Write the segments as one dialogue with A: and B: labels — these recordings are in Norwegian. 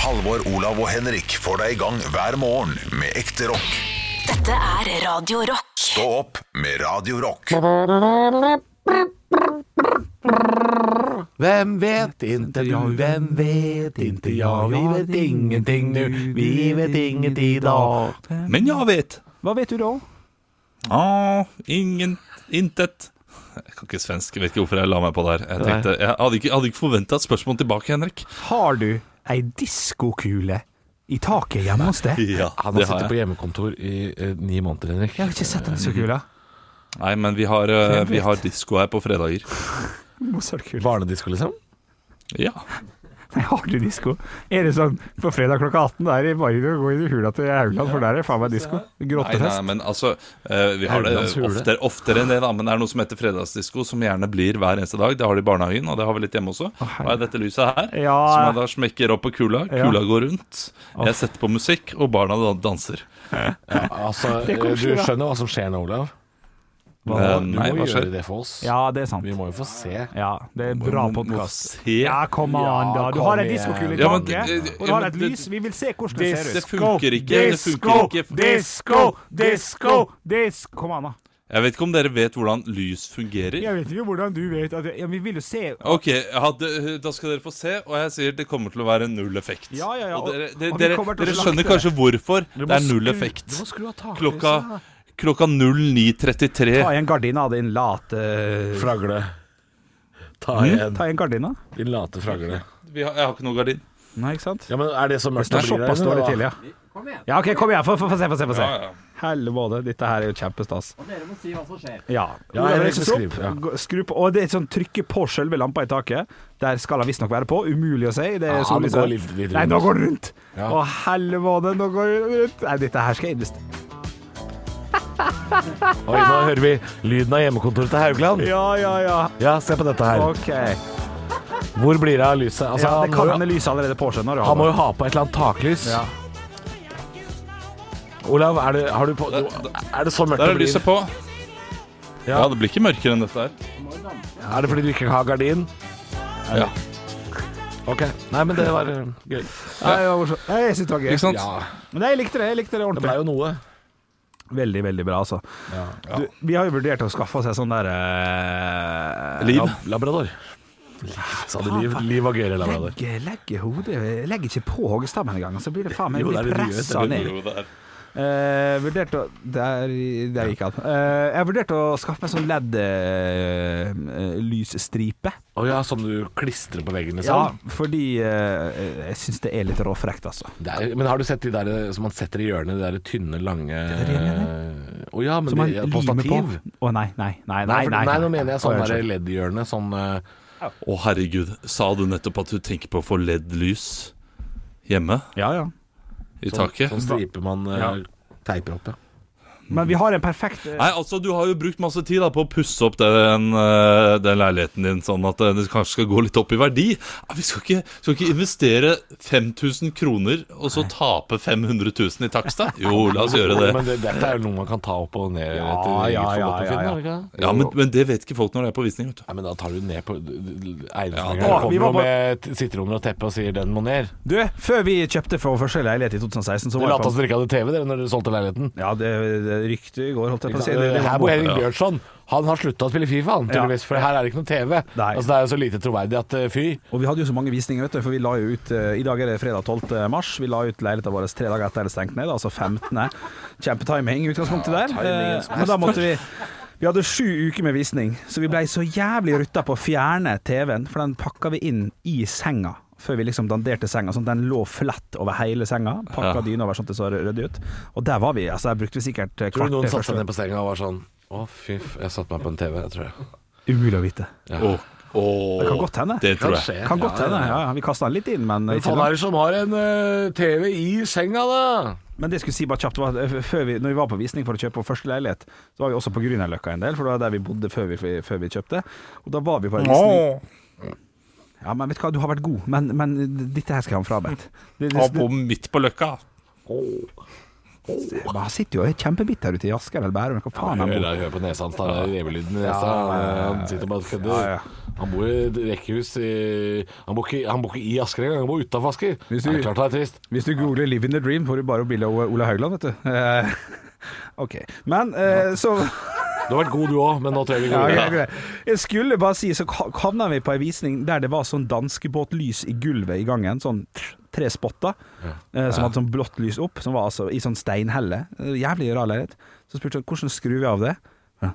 A: Halvor, Olav og Henrik får deg i gang hver morgen med ekte rock.
B: Dette er Radio Rock.
A: Stå opp med Radio Rock.
C: Hvem vet inte nu, hvem vet inte jag Vi vet ingenting nu, vi vet inget idag
D: Men jeg vet
E: Hva vet du da?
D: ah, Ingen, intet Jeg kan ikke svensk, jeg vet ikke hvorfor jeg la meg på der Jeg, tenkte, jeg hadde ikke, jeg hadde ikke forventet et spørsmål tilbake, Henrik
E: Har du ei diskokule i taket hjemme hos deg?
D: Ja,
C: Han har
D: det har
C: sittet på
D: jeg
C: hjemmekontor i eh, ni måneder, Henrik
E: Jeg har ikke sett den diskokula.
D: Nei, men vi har, eh,
E: Hvem vet?
D: vi har disco her på fredager
E: Mozartkule.
C: Barnedisko liksom
D: Ja,
E: Nei, har du disko? Er det sånn på fredag klokka 18 der i Margen og gå inn i hula til Haugland, for der er faen meg disko?
D: nei, nei,
E: Grottefest.
D: men altså eh, Vi har det
C: Hauglands hule.
D: oftere, oftere enn det da Men det er noe som heter fredagsdisco Som gjerne blir hver eneste dag Det har de i barnehagen, og det har vi litt hjemme også Og er dette lyset her
E: Ja.
D: Som jeg da smekker opp på kula
E: Ja.
D: Kula går rundt Jeg setter på musikk, og barna da- danser
C: Altså, eh,
E: kommer
C: du
E: til å-
C: skjønner hva som skjer nå, Olav
D: Eh,
C: Du
D: nei,
C: må
D: hva skjer?
C: gjøre det for oss
E: Ja, det er sant.
C: Vi må jo få se
E: Ja, det er bra
D: Må- må
E: podkast.
D: se.
E: Ja, kom an, da. Du
C: kom
E: har ei
C: igjen.
E: diskokule i
D: Ja, men
E: taket,
D: det- det-
E: og du har
D: ja,
E: et
D: men det-
E: lys. Vi vil se hvordan det ser
D: Det
E: ut.
D: funker ikke. Det funker ikke.
E: disko, disko, disko. Kom an, da.
D: Jeg vet ikke om dere vet hvordan lys fungerer.
E: Jeg vet ikke hvordan du vet at Ja, vi vil jo se
D: Ok, ja, det- Da skal dere få se, og jeg sier det kommer til å være null effekt.
E: Ja, ja, ja,
D: Og dere,
E: og-
D: dere,
E: og vi
D: dere,
E: kommer til å
D: dere
E: slakte
D: skjønner
E: det.
D: kanskje hvorfor det er null
C: Du må
D: effekt.
C: skru av taket
D: Klokka, klokka 09.33
E: Ta igjen gardina, din late
C: Fragle Ta igjen
E: Ta igjen gardina.
C: Din late fragle
D: Vi har, Jeg har ikke noe gardin.
E: Nei, ikke sant?
C: Ja, men er det så mørkt
E: Det er
C: det blir der
E: såpass
C: inne,
E: dårlig
C: da?
E: til, ja. Ja, OK, kom igjen. Få få- få se, få se. Få se.
D: Ja, ja.
E: Helvete, dette her er jo kjempestas. Og dere må si hva som skjer. Ja.
C: Ja,
E: Olav
C: jeg
E: reiser seg opp,
C: beskriver, ja.
E: gå- skru på, og det er et sånn trykke på selve lampa i taket. Der skal den visstnok være på. Umulig å si. Det er
C: Ja,
E: sollyset.
C: nå går litt- litt rundt.
E: Nei, nå går den rundt.
C: Ja.
E: Å, helvete, nå går den rundt. Nei, dette her skal jeg invest-
C: Oi, nå hører vi lyden av hjemmekontoret til Haugland
E: Ja, ja, ja.
C: Ja, se på dette her
E: OK.
C: Hvor blir det av lyset? Altså,
E: Ja,
C: han
E: det kan
C: må jo-
E: hende lyset allerede på seg når du
C: Han må
E: har
C: jo ha på et eller annet taklys.
E: Ja.
C: Olav, er det, har du på, du, er det så mørkt
D: Der
C: det
D: er lyset
C: blir?
D: på.
C: Ja.
D: Ja, det blir ikke mørkere enn dette her.
C: Er det fordi du ikke har gardin?
D: Ja.
C: Ok. Nei, men det var eh, gøy.
E: Nei, det var morsomt. Nei, Jeg synes det var
D: Ikke
E: gøy.
D: sant?
C: Ja,
E: Men jeg likte det. Jeg likte det
C: det
E: ordentlig.
C: ble jo noe.
E: Veldig, veldig bra, altså. Du, vi har jo vurdert å skaffe oss en sånn der eh,
D: Liv.
C: Lab- Labrador. Sa du liv, liv var gøyere labrador?
E: Legge, legge hodet Legg ikke på hoggestammen engang, så blir det faen meg
C: Jo, det er det du gjør,
E: pressa
C: det er det
E: ned.
D: Jo, det er-
E: Eh, vurdert å Der, der gikk han. Eh, jeg har vurdert å skaffe meg sånn eh, LED-lysstripe.
C: Å ja, som du klistrer på veggen,
E: ja,
C: liksom?
E: fordi eh, jeg syns det er litt råfrekt, altså.
C: Det er, men har du sett de der eh, som man setter i hjørnet, de der tynne, lange
E: det jeg
C: eh, Å ja, men
E: Som man
C: de, på
E: limer på.
C: stativ?
E: Å nei, nei, nei.
C: Nei, for- nei, nå mener jeg sånn
E: Å,
C: der
E: unnskyld.
C: LED-hjørne. Sånn eh,
D: Å, herregud. Sa du nettopp at du tenker på å få LED-lys hjemme
E: Ja, ja.
D: i taket?
C: Sånn stripe man eh, teiper opp, ja.
E: Men vi har en perfekt eh,
D: Nei, altså Du har jo brukt masse tid da på å pusse opp den, eh, den leiligheten din, sånn at eh, det kanskje skal gå litt opp i verdi. Nei, Vi skal ikke, skal ikke investere 5000 kroner og så tape 500 000 i takst, da? Jo, la oss gjøre det.
C: Men det, dette er jo noe man kan ta opp og ned etter eget
E: ja, ja, ja, ja.
C: forgodtbefinnende, er det ikke det?
D: Ja, men, men det vet ikke folk når det er på visning. vet du
C: Nei, men da tar du ned på
D: Ja,
C: Eiendomsmegleren
D: da-
C: kommer
E: vi
C: jo
E: var bare-
C: med t- sitterommer og teppe og sier 'den må ned'.
E: Du, før vi kjøpte for vår første leilighet i 2016, så
C: Dere
E: var
C: lot
E: jeg
C: som
E: på
C: dere ikke hadde TV dere når dere solgte leiligheten.
E: Ja, det, det ryktet i går, holdt jeg på å si. Det, det,
C: Her
E: var
C: bor
E: borte.
C: Henrik Bjørnson. Han har slutta å spille Fifa, han,
E: Ja.
C: tydeligvis, for her er det ikke noe TV.
E: Nei.
C: Altså Det er jo så lite troverdig at eh, fy.
E: Og vi hadde jo så mange visninger, vet du, for vi la jo ut eh, I dag er det fredag 12. mars. Vi la ut leiligheten vår tre dager etter det stengte ned, altså 15. Kjempetiming i utgangspunktet der. Eh, Men da måtte vi vi hadde sju uker med visning, så vi blei så jævlig rutta på å fjerne TV-en, for den pakka vi inn i senga. Før vi liksom danderte senga, sånn at den lå flatt over hele senga. Pakka
D: Ja.
E: dyna over sånn at det så ryddig ut. Og der var vi. altså Der brukte vi sikkert eh,
C: Tror du noen
E: kvarter
C: satte seg
E: første.
C: ned på senga og var sånn Å, fy, f- jeg satte meg på en TV, jeg tror jeg.
E: Umulig å vite.
D: Åh, åh,
E: Det kan godt hende.
D: Det tror jeg.
E: Kan godt hende. Ja, ja. Vi kasta den litt inn, men
C: Men
E: ikke
C: faen
E: langt.
C: er det som har en eh, TV i senga, da?
E: Men det jeg skulle si bare kjapt var at f- før vi, Når vi var på visning for å kjøpe vår første leilighet, så var vi også på Grünerløkka en del, for det var der vi bodde før vi, før vi kjøpte. Og da var vi på en visning. Ja, men vet du hva, du har vært god, men, men dette her skal jeg ha meg frabedt. Det- det-
D: Og på, midt på løkka.
E: Han sitter jo og er kjempebitter ute i Asker eller Bærum. Hva faen han bor
C: Hør, hør på nesa hans, da. Det er revelyden i
E: Ja,
C: nesa.
E: ja, ja, ja.
C: Han sitter og bare og
E: Ja, ja.
C: kødder. Han bor i et rekkehus i Han bor ikke, han bor ikke i Asker engang, han bor utafor Asker. Det
E: Hvis du-
C: er klart det er trist.
E: Hvis du googler 'Live in the Dream', får du bare opp bilde av Ola Haugland, vet du. Eh, OK. Men eh, så
C: Du har vært god du òg, men nå trenger vi
E: ja,
C: gode.
E: greit, greit. Jeg skulle bare si, så ka- havna vi på ei visning der det var sånn danskebåtlys i gulvet i gangen. Sånn tr- tre spotter eh, som hadde sånn blått lys opp, som var altså i sånn steinhelle. Eh, Jævlig rar leilighet. Så spurte jeg hvordan skrur vi av det. Ja,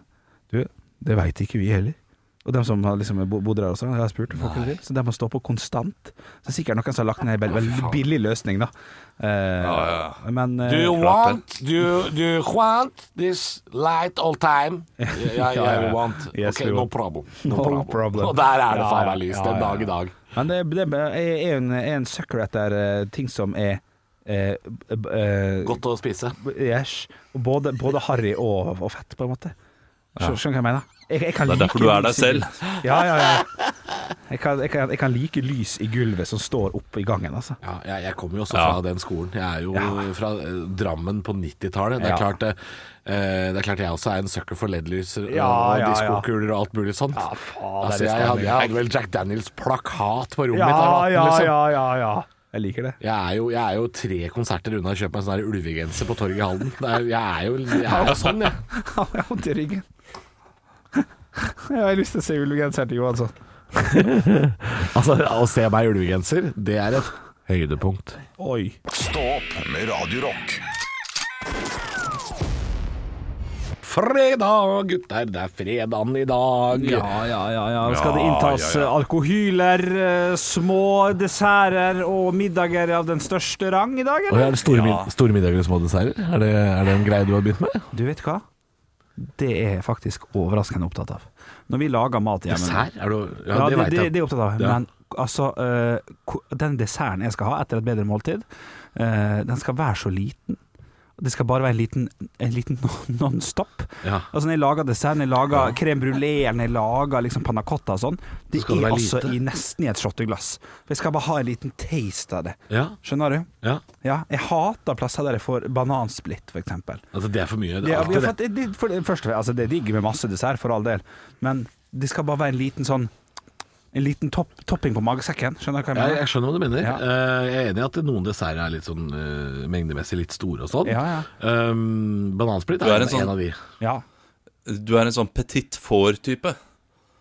E: Du, det veit ikke vi heller. Og de som har liksom bo- bodde der også, jeg har spurt, får ikke det til. så de må stå på konstant. Så det er sikkert noen som har lagt ned en veldig, veldig billig løsning, da. Eh,
D: Ja,
E: Men eh,
C: Do you
D: klart
C: want, do you, do you want this light all time? Yeah, yeah,
E: ja, ja.
C: we want.
E: Yes,
C: okay,
E: we
C: no
E: want.
C: problem.
E: No problem.
C: Og der er det
E: Ja,
C: faen
E: ja,
C: meg lyst
E: ja,
C: en
E: ja,
C: dag i
E: ja.
C: dag.
E: Men det, det jeg er en, er en sucker etter eh, ting som er eh, b- b- eh,
C: Godt å spise.
E: yes. Både, både harry og, og fett, på en måte. Skjø- Skjønner du hva jeg mener? Jeg, jeg kan
D: Det er
E: like
D: derfor du er deg
E: lys i
D: selv.
E: gulvet. Ja, ja, ja. Jeg kan, jeg, kan, jeg kan like lys i gulvet som står oppe i gangen, altså.
C: Ja, jeg, jeg kommer jo også
D: Ja.
C: fra den skolen. Jeg er jo
E: Ja.
C: fra eh, Drammen på 90-tallet. Det, er
E: Ja.
C: klart, eh, eh, det er klart jeg også er en sucker for LED-lyser
E: Ja,
C: og
E: ja, ja.
C: diskokuler og alt mulig sånt.
E: faen,
C: altså, jeg, hadde, jeg hadde vel Jack Daniels-plakat på rommet
E: Ja,
C: mitt. da jeg var atten,
E: ja,
C: liksom.
E: ja, ja, ja. Jeg liker det.
C: Jeg er, jo, jeg er jo tre konserter unna å kjøpe meg en sånn her ulvegenser på torget i Halden. Det er, jeg er jo jeg er jo sånn, jeg.
E: Jeg har vondt i ryggen. Jeg har lyst til å se Ulvegenseren til Johansson.
C: Altså, å se meg i ulvegenser, det er et høydepunkt.
E: Oi.
A: Stå opp med Radio Rock.
C: Fredag, gutter, det er fredagen i dag.
E: Ja, ja, ja. ja.
D: Ja,
E: Skal det inntas
D: ja, ja.
E: eh, alkohyler, eh, små desserter og middager av den største rang i dag,
C: Og
E: eller?
C: er det store, mid store middager og små desserter? Er det, er det en greie du har begynt med?
E: Du vet hva? Det er jeg faktisk overraskende opptatt av. Når vi lager mat hjemme
C: Er du, ja,
E: Ja,
C: det
E: det,
C: veit
E: det,
C: jeg.
E: det er jeg opptatt av.
C: Ja.
E: Men altså, eh, ko- den desserten jeg skal ha etter et bedre måltid, eh, den skal være så liten. Det skal bare være en liten, en liten non-stop.
C: Ja.
E: Altså Når jeg lager dessert, når jeg lager crème brulé, når jeg lager liksom panna cotta og sånn, det
C: skal det
E: er
C: være
E: altså
C: lite.
E: i nesten i et shotteglass. For jeg skal bare ha en liten taste av det.
C: Ja,
E: Skjønner du?
C: ja.
E: Ja, jeg hater plasser der jeg får banansplitt, for eksempel.
C: Altså, det er for mye. Det
E: Det,
C: er
E: ja,
C: alltid det.
E: for, det, det, for, det første, altså, det er digg med masse dessert, for all del, men det skal bare være en liten sånn En liten topp, topping på magesekken. Skjønner du hva jeg
C: Jeg,
E: mener?
C: jeg skjønner hva du mener.
E: Ja.
C: Eh, jeg er enig i at noen desserter er litt sånn eh, mengdemessig litt store og sånn.
E: Ja, ja.
C: Um, banansplitt
D: Du
C: er,
D: er en
C: en,
D: sånn-
C: en av de.
E: Ja.
D: Du er en sånn petit får-type.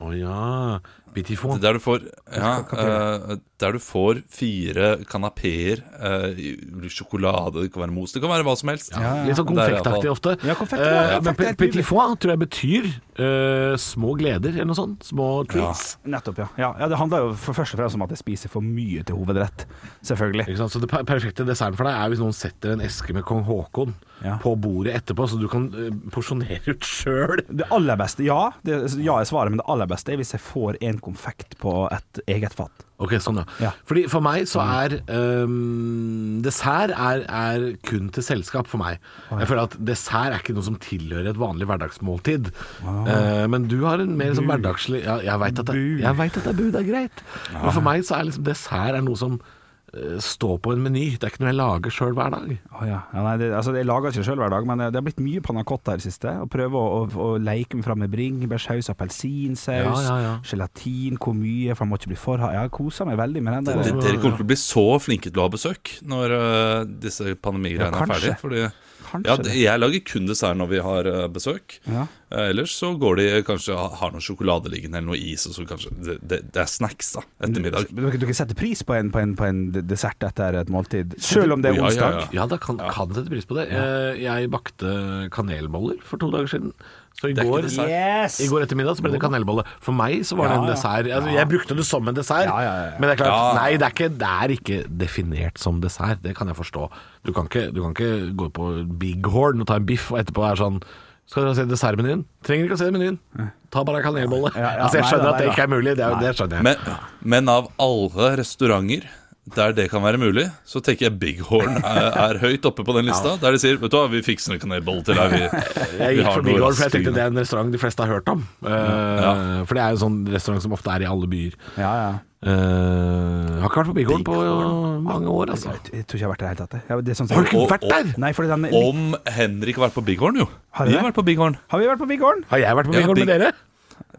C: Å ja. Petit fond.
D: Der du får ja,
E: Hva- hva
D: eh, Der du får fire kanapeer eh, Sjokolade, det kan være mos, det kan være hva som helst
E: Ja, ja.
C: Litt sånn
D: Det er
C: konfektaktig
D: i
C: ofte.
E: Ja, konfekt,
C: Eh,
E: ja,
C: men
E: konfekt er et
C: petit
E: liv.
C: foie tror jeg betyr eh, små gleder, eller noe sånt. Små treats.
E: Nettopp, ja. ja. Ja, Det handler jo for først og fremst om at jeg spiser for mye til hovedrett. Selvfølgelig.
C: Ikke sant? Så det per- perfekte designen for deg er hvis noen setter en eske med kong Haakon
E: Ja.
C: på bordet etterpå, så du kan eh, porsjonere ut sjøl.
E: Det aller beste, ja, det, ja er svaret, men det aller beste er hvis jeg får en konfekt på et eget fat.
C: Ok, sånn ja.
E: Ja.
C: Fordi For meg så er øhm, dessert er, er kun til selskap for meg. Jeg føler at dessert er ikke noe som tilhører et vanlig hverdagsmåltid. Eh, men du har en mer sånn hverdagslig ja, Jeg veit at, det-
E: Ah. Bu. Ah.
C: jeg vet at det er bu, det er greit. Men for meg så er liksom dessert er noe som eh, står på en meny. Det er ikke noe jeg lager sjøl hver dag.
E: Å ja. ja nei, det, altså, jeg lager ikke sjøl hver dag, men det har blitt mye panna cotta i det siste. Å prøve å, å, å leke meg fram med bringebærsaus, appelsinsaus,
C: Ja, ja, ja.
E: gelatin, hvor mye, for jeg må ikke bli for hard. Jeg har kosa meg veldig med den
D: De-
C: altså.
E: der. Altså,
D: Dere kommer til å bli så flinke til å ha besøk Når eh, disse pandemigreiene
E: Ja,
D: er ferdige
E: kanskje.
D: Fordi
E: Kanskje
D: ja,
E: det.
D: det- jeg lager kun dessert når vi har eh, besøk
E: Ja.
D: Eh, Ellers så går de kanskje Har noen sjokolade liggende eller noe is og så kanskje, det, det, det er snacks da, ettermiddag
E: Du, du, du kan sette pris på en, på, en, på en dessert etter et måltid, sjøl om det er
D: Ja, ja,
E: onsdag.
D: ja.
C: Ja, da kan, kan sette pris på det. Eh, Jeg bakte kanelboller for to dager siden. Så i
D: er ikke
C: går,
D: dessert.
E: Yes!
C: i går ettermiddag så ble det kanelbolle. For meg så var det en
E: Ja, ja.
C: dessert. Altså, jeg brukte det som en dessert,
E: Ja, ja, ja, ja.
C: men det er klart,
D: Ja.
C: nei, det er, ikke, det er ikke definert som dessert. Det kan jeg forstå. Du kan ikke, du kan ikke gå på Big Horn og ta en biff og etterpå være sånn skal dere se dessertmenyen? Trenger ikke å se menyen. Ta bare en kanelbolle.
E: Ja, ja,
C: altså, jeg
E: nei,
C: skjønner
E: nei,
C: at det
E: nei,
C: ikke er mulig. Det, er, jo- det skjønner jeg.
D: Men, men av alle restauranter der det kan være mulig, så tenker jeg Big Horn er, er høyt oppe på den lista. Der de sier vet du hva, vi fikser en kanelbolle til deg. Vi,
C: Jeg
D: vi
C: gikk
D: har
C: forbi
D: noe
C: Gård, for jeg
D: raskt
C: tenkte det
D: liggende.»
C: er en restaurant de fleste har hørt om. Eh, For det er jo en sånn restaurant som ofte er i alle byer.
E: Ja, ja.
C: Eh, Eh, jeg har ikke vært på Bighorn på mange år, altså.
E: Jeg, jeg tror ikke jeg har vært der i det hele tatt. jeg. Ja, det er sånn-
C: Har du ikke
D: Og-
C: vært der?
E: Nei, fordi den
D: Om Henrik har vært på Bighorn, jo.
E: Har
D: Vi
E: det?
D: har vært på Bighorn.
E: sånn- Har vi vært på Bighorn?
C: Har jeg vært på
D: Ja,
C: Bighorn
D: Big-
C: med dere?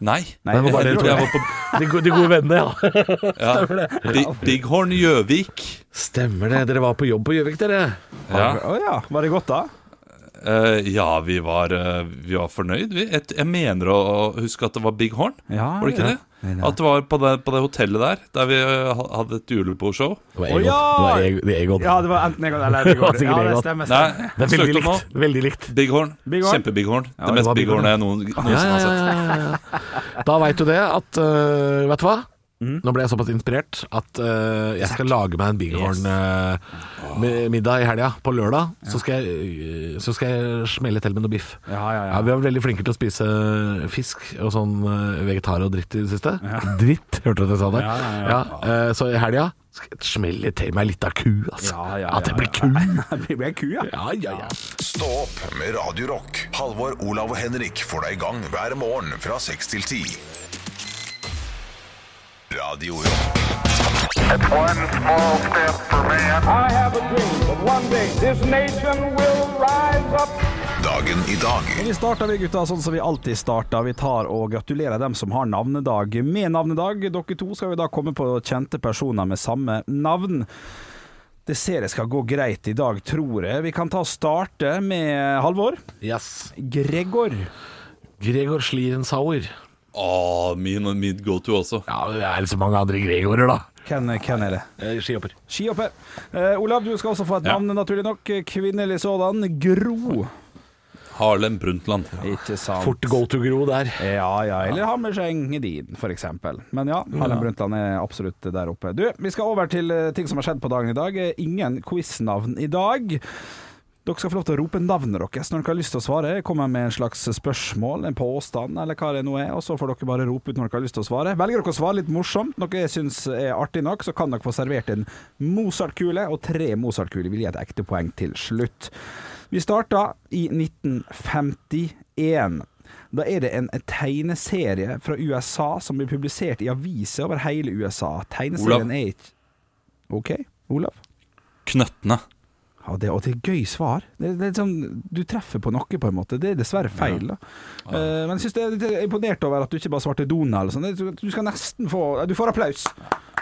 D: Nei.
E: Nei, det var bare
D: jeg
E: det,
D: tror jeg
E: tror
D: var på
C: De, go- de gode vennene, ja.
D: ja. Bi- Bighorn Gjøvik.
C: Stemmer det. Dere var på jobb på Gjøvik, dere.
D: Ja.
E: Å ja. Var det godt, da?
D: Eh, ja, vi var, eh, vi var fornøyd. Vi. Et, jeg mener å huske at det var Big Horn.
E: Ja,
D: var det ikke
E: ja.
D: det?
E: Nei, nei.
D: At det var på det, på det hotellet der, der vi eh, ha- hadde et julebordshow.
C: Det var
E: Å,
C: Egon.
E: ja!
C: Det var Eg- det er Egon.
E: Ja, det var enten Egon eller
C: Det var
E: Bighorn.
C: sikkert
E: Ja, det
C: Egon.
E: stemmer.
D: Nei,
E: stemmer.
C: Det er veldig
D: søkte om
C: likt. Veldig likt.
D: nå. Big Horn.
E: Big Horn.
D: Kjempe-Big Horn.
E: det
D: det mest
E: var Big
D: Big Horn
E: Horn.
D: jeg noen, noen som
C: Ja, ja,
D: har sett.
C: ja, ja, ja. Da veit du det at øh, Vet du hva? Nå ble jeg såpass inspirert at øh, jeg skal lage meg en Bighorn-middag i helga. På lørdag så, skal jeg, øh, så skal jeg smelle til med noe biff.
E: Ja, ja, ja.
C: Ja, Vi har vært veldig flinke til å spise fisk og sånn øh, vegetar og dritt i det siste. Dritt, hørte du at jeg sa det?
E: Ja, ja, ja.
C: øh, så i helga skal jeg smelle til meg litt av ku, altså.
E: Ja, ja,
C: at jeg
E: ja,
C: blir ku.
E: Det ble en ku, ja.
C: Ja, ja, ja.
A: Stå opp med Radio Rock. Halvor, Olav og Henrik får deg i gang hver morgen fra 6 til 10. Radio Rock.
F: It's one small step for man.
G: I have a dream that one day this nation will rise up.
A: Dagen i dag.
E: Og Vi starter vi gutta sånn som vi alltid starter. Vi tar og gratulerer dem som har navnedag med navnedag. Dere to skal jo da komme på kjente personer med samme navn. Det ser jeg skal gå greit i dag, tror jeg. Vi kan ta og starte med Halvor.
C: Yes.
E: Gregor.
C: Gregor Slierensauer.
D: Å, Ah, min, min go-to også.
C: Ja, det er så mange andre Gregorer, da.
E: Hvem, hvem er det?
C: Eh, Skihopper.
E: Skihopper. Eh, Olav, du skal også få et
D: Ja.
E: navn, naturlig nok. Kvinnelig sådan. Gro.
D: Harlem Brundtland.
E: Ikke sant.
C: Fort go to Gro der.
E: Ja, ja, eller Hammerseng Edin, for eksempel. Men ja, Harlem Brundtland er absolutt der oppe. Du, vi skal over til eh, ting som har skjedd på dagen i dag. Eh, Ingen quiznavn i dag. Dere skal få lov til å rope navnet deres når dere har lyst til å svare. Jeg kommer med en slags spørsmål, en påstand eller hva det nå er, og så får dere bare rope ut når dere har lyst til å svare. Velger dere å svare litt morsomt, noe jeg syns er artig nok, så kan dere få servert en Mozart-kule, og tre Mozart-kuler vil gi et ekte poeng til slutt. Vi starta i 1951. Da er det en tegneserie fra USA som blir publisert i aviser over hele USA. Tegneserien
D: Olav.
E: er ikke OK, Olav?
D: Knøttene.
E: Ja, det, og det er gøy svar. Det, det er litt sånn, du treffer på noe, på en måte. Det er dessverre feil. Da. Eh, men jeg synes det er litt imponert over at du ikke bare svarte Donald. og Sånn. Du du skal nesten få Du får applaus!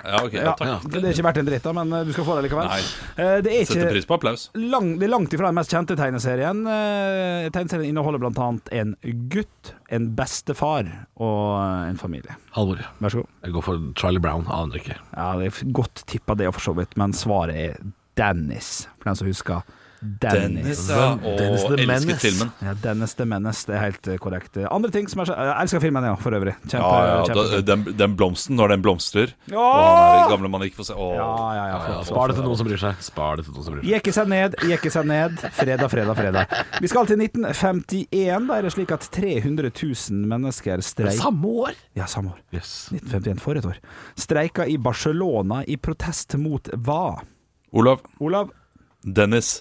D: Ja, ok, ja,
E: Ja,
D: takk.
E: Det er ikke verdt en dritt, da, men eh, du skal få det likevel.
D: Nei.
E: Eh, det er
D: Setter
E: ikke
D: pris på applaus.
E: lang, det er langt ifra den mest kjente tegneserien. Eh, tegneserien inneholder blant annet en gutt, en bestefar og eh, en familie.
C: Halvor.
E: Vær så god.
C: Jeg går for Charlie Brown. Aner ikke.
E: Ja, det er Godt tippa det, for så vidt, men svaret er Dennis, for den som husker. Dennis.
D: Dennis, ja. Og
C: Dennis the Menace.
D: elsket filmen.
E: Ja, Dennis the Menace, det er helt eh, korrekt. Andre ting som er skje- Jeg elsker filmen, ja, for øvrig. Kjempe,
D: Ja, ja, ja.
E: kjempe.
D: Da- Den, den blomsten, når den blomstrer.
E: Ja!
D: Og han er gamle mann ikke får se. Å,
E: ja, ja, ja, flott, flott.
C: Spar det til noen som bryr seg. Spar det til noen som bryr seg.
E: Jekke seg ned, jekke seg ned. Fredag, fredag, fredag. Vi skal til 1951. Da er det slik at 300 000 mennesker streiker
C: Samme år!
E: Ja, samme år.
C: Yes.
E: 1951, for et år. Streika i Barcelona i protest mot hva?
D: Olav.
E: Olav?
D: Dennis.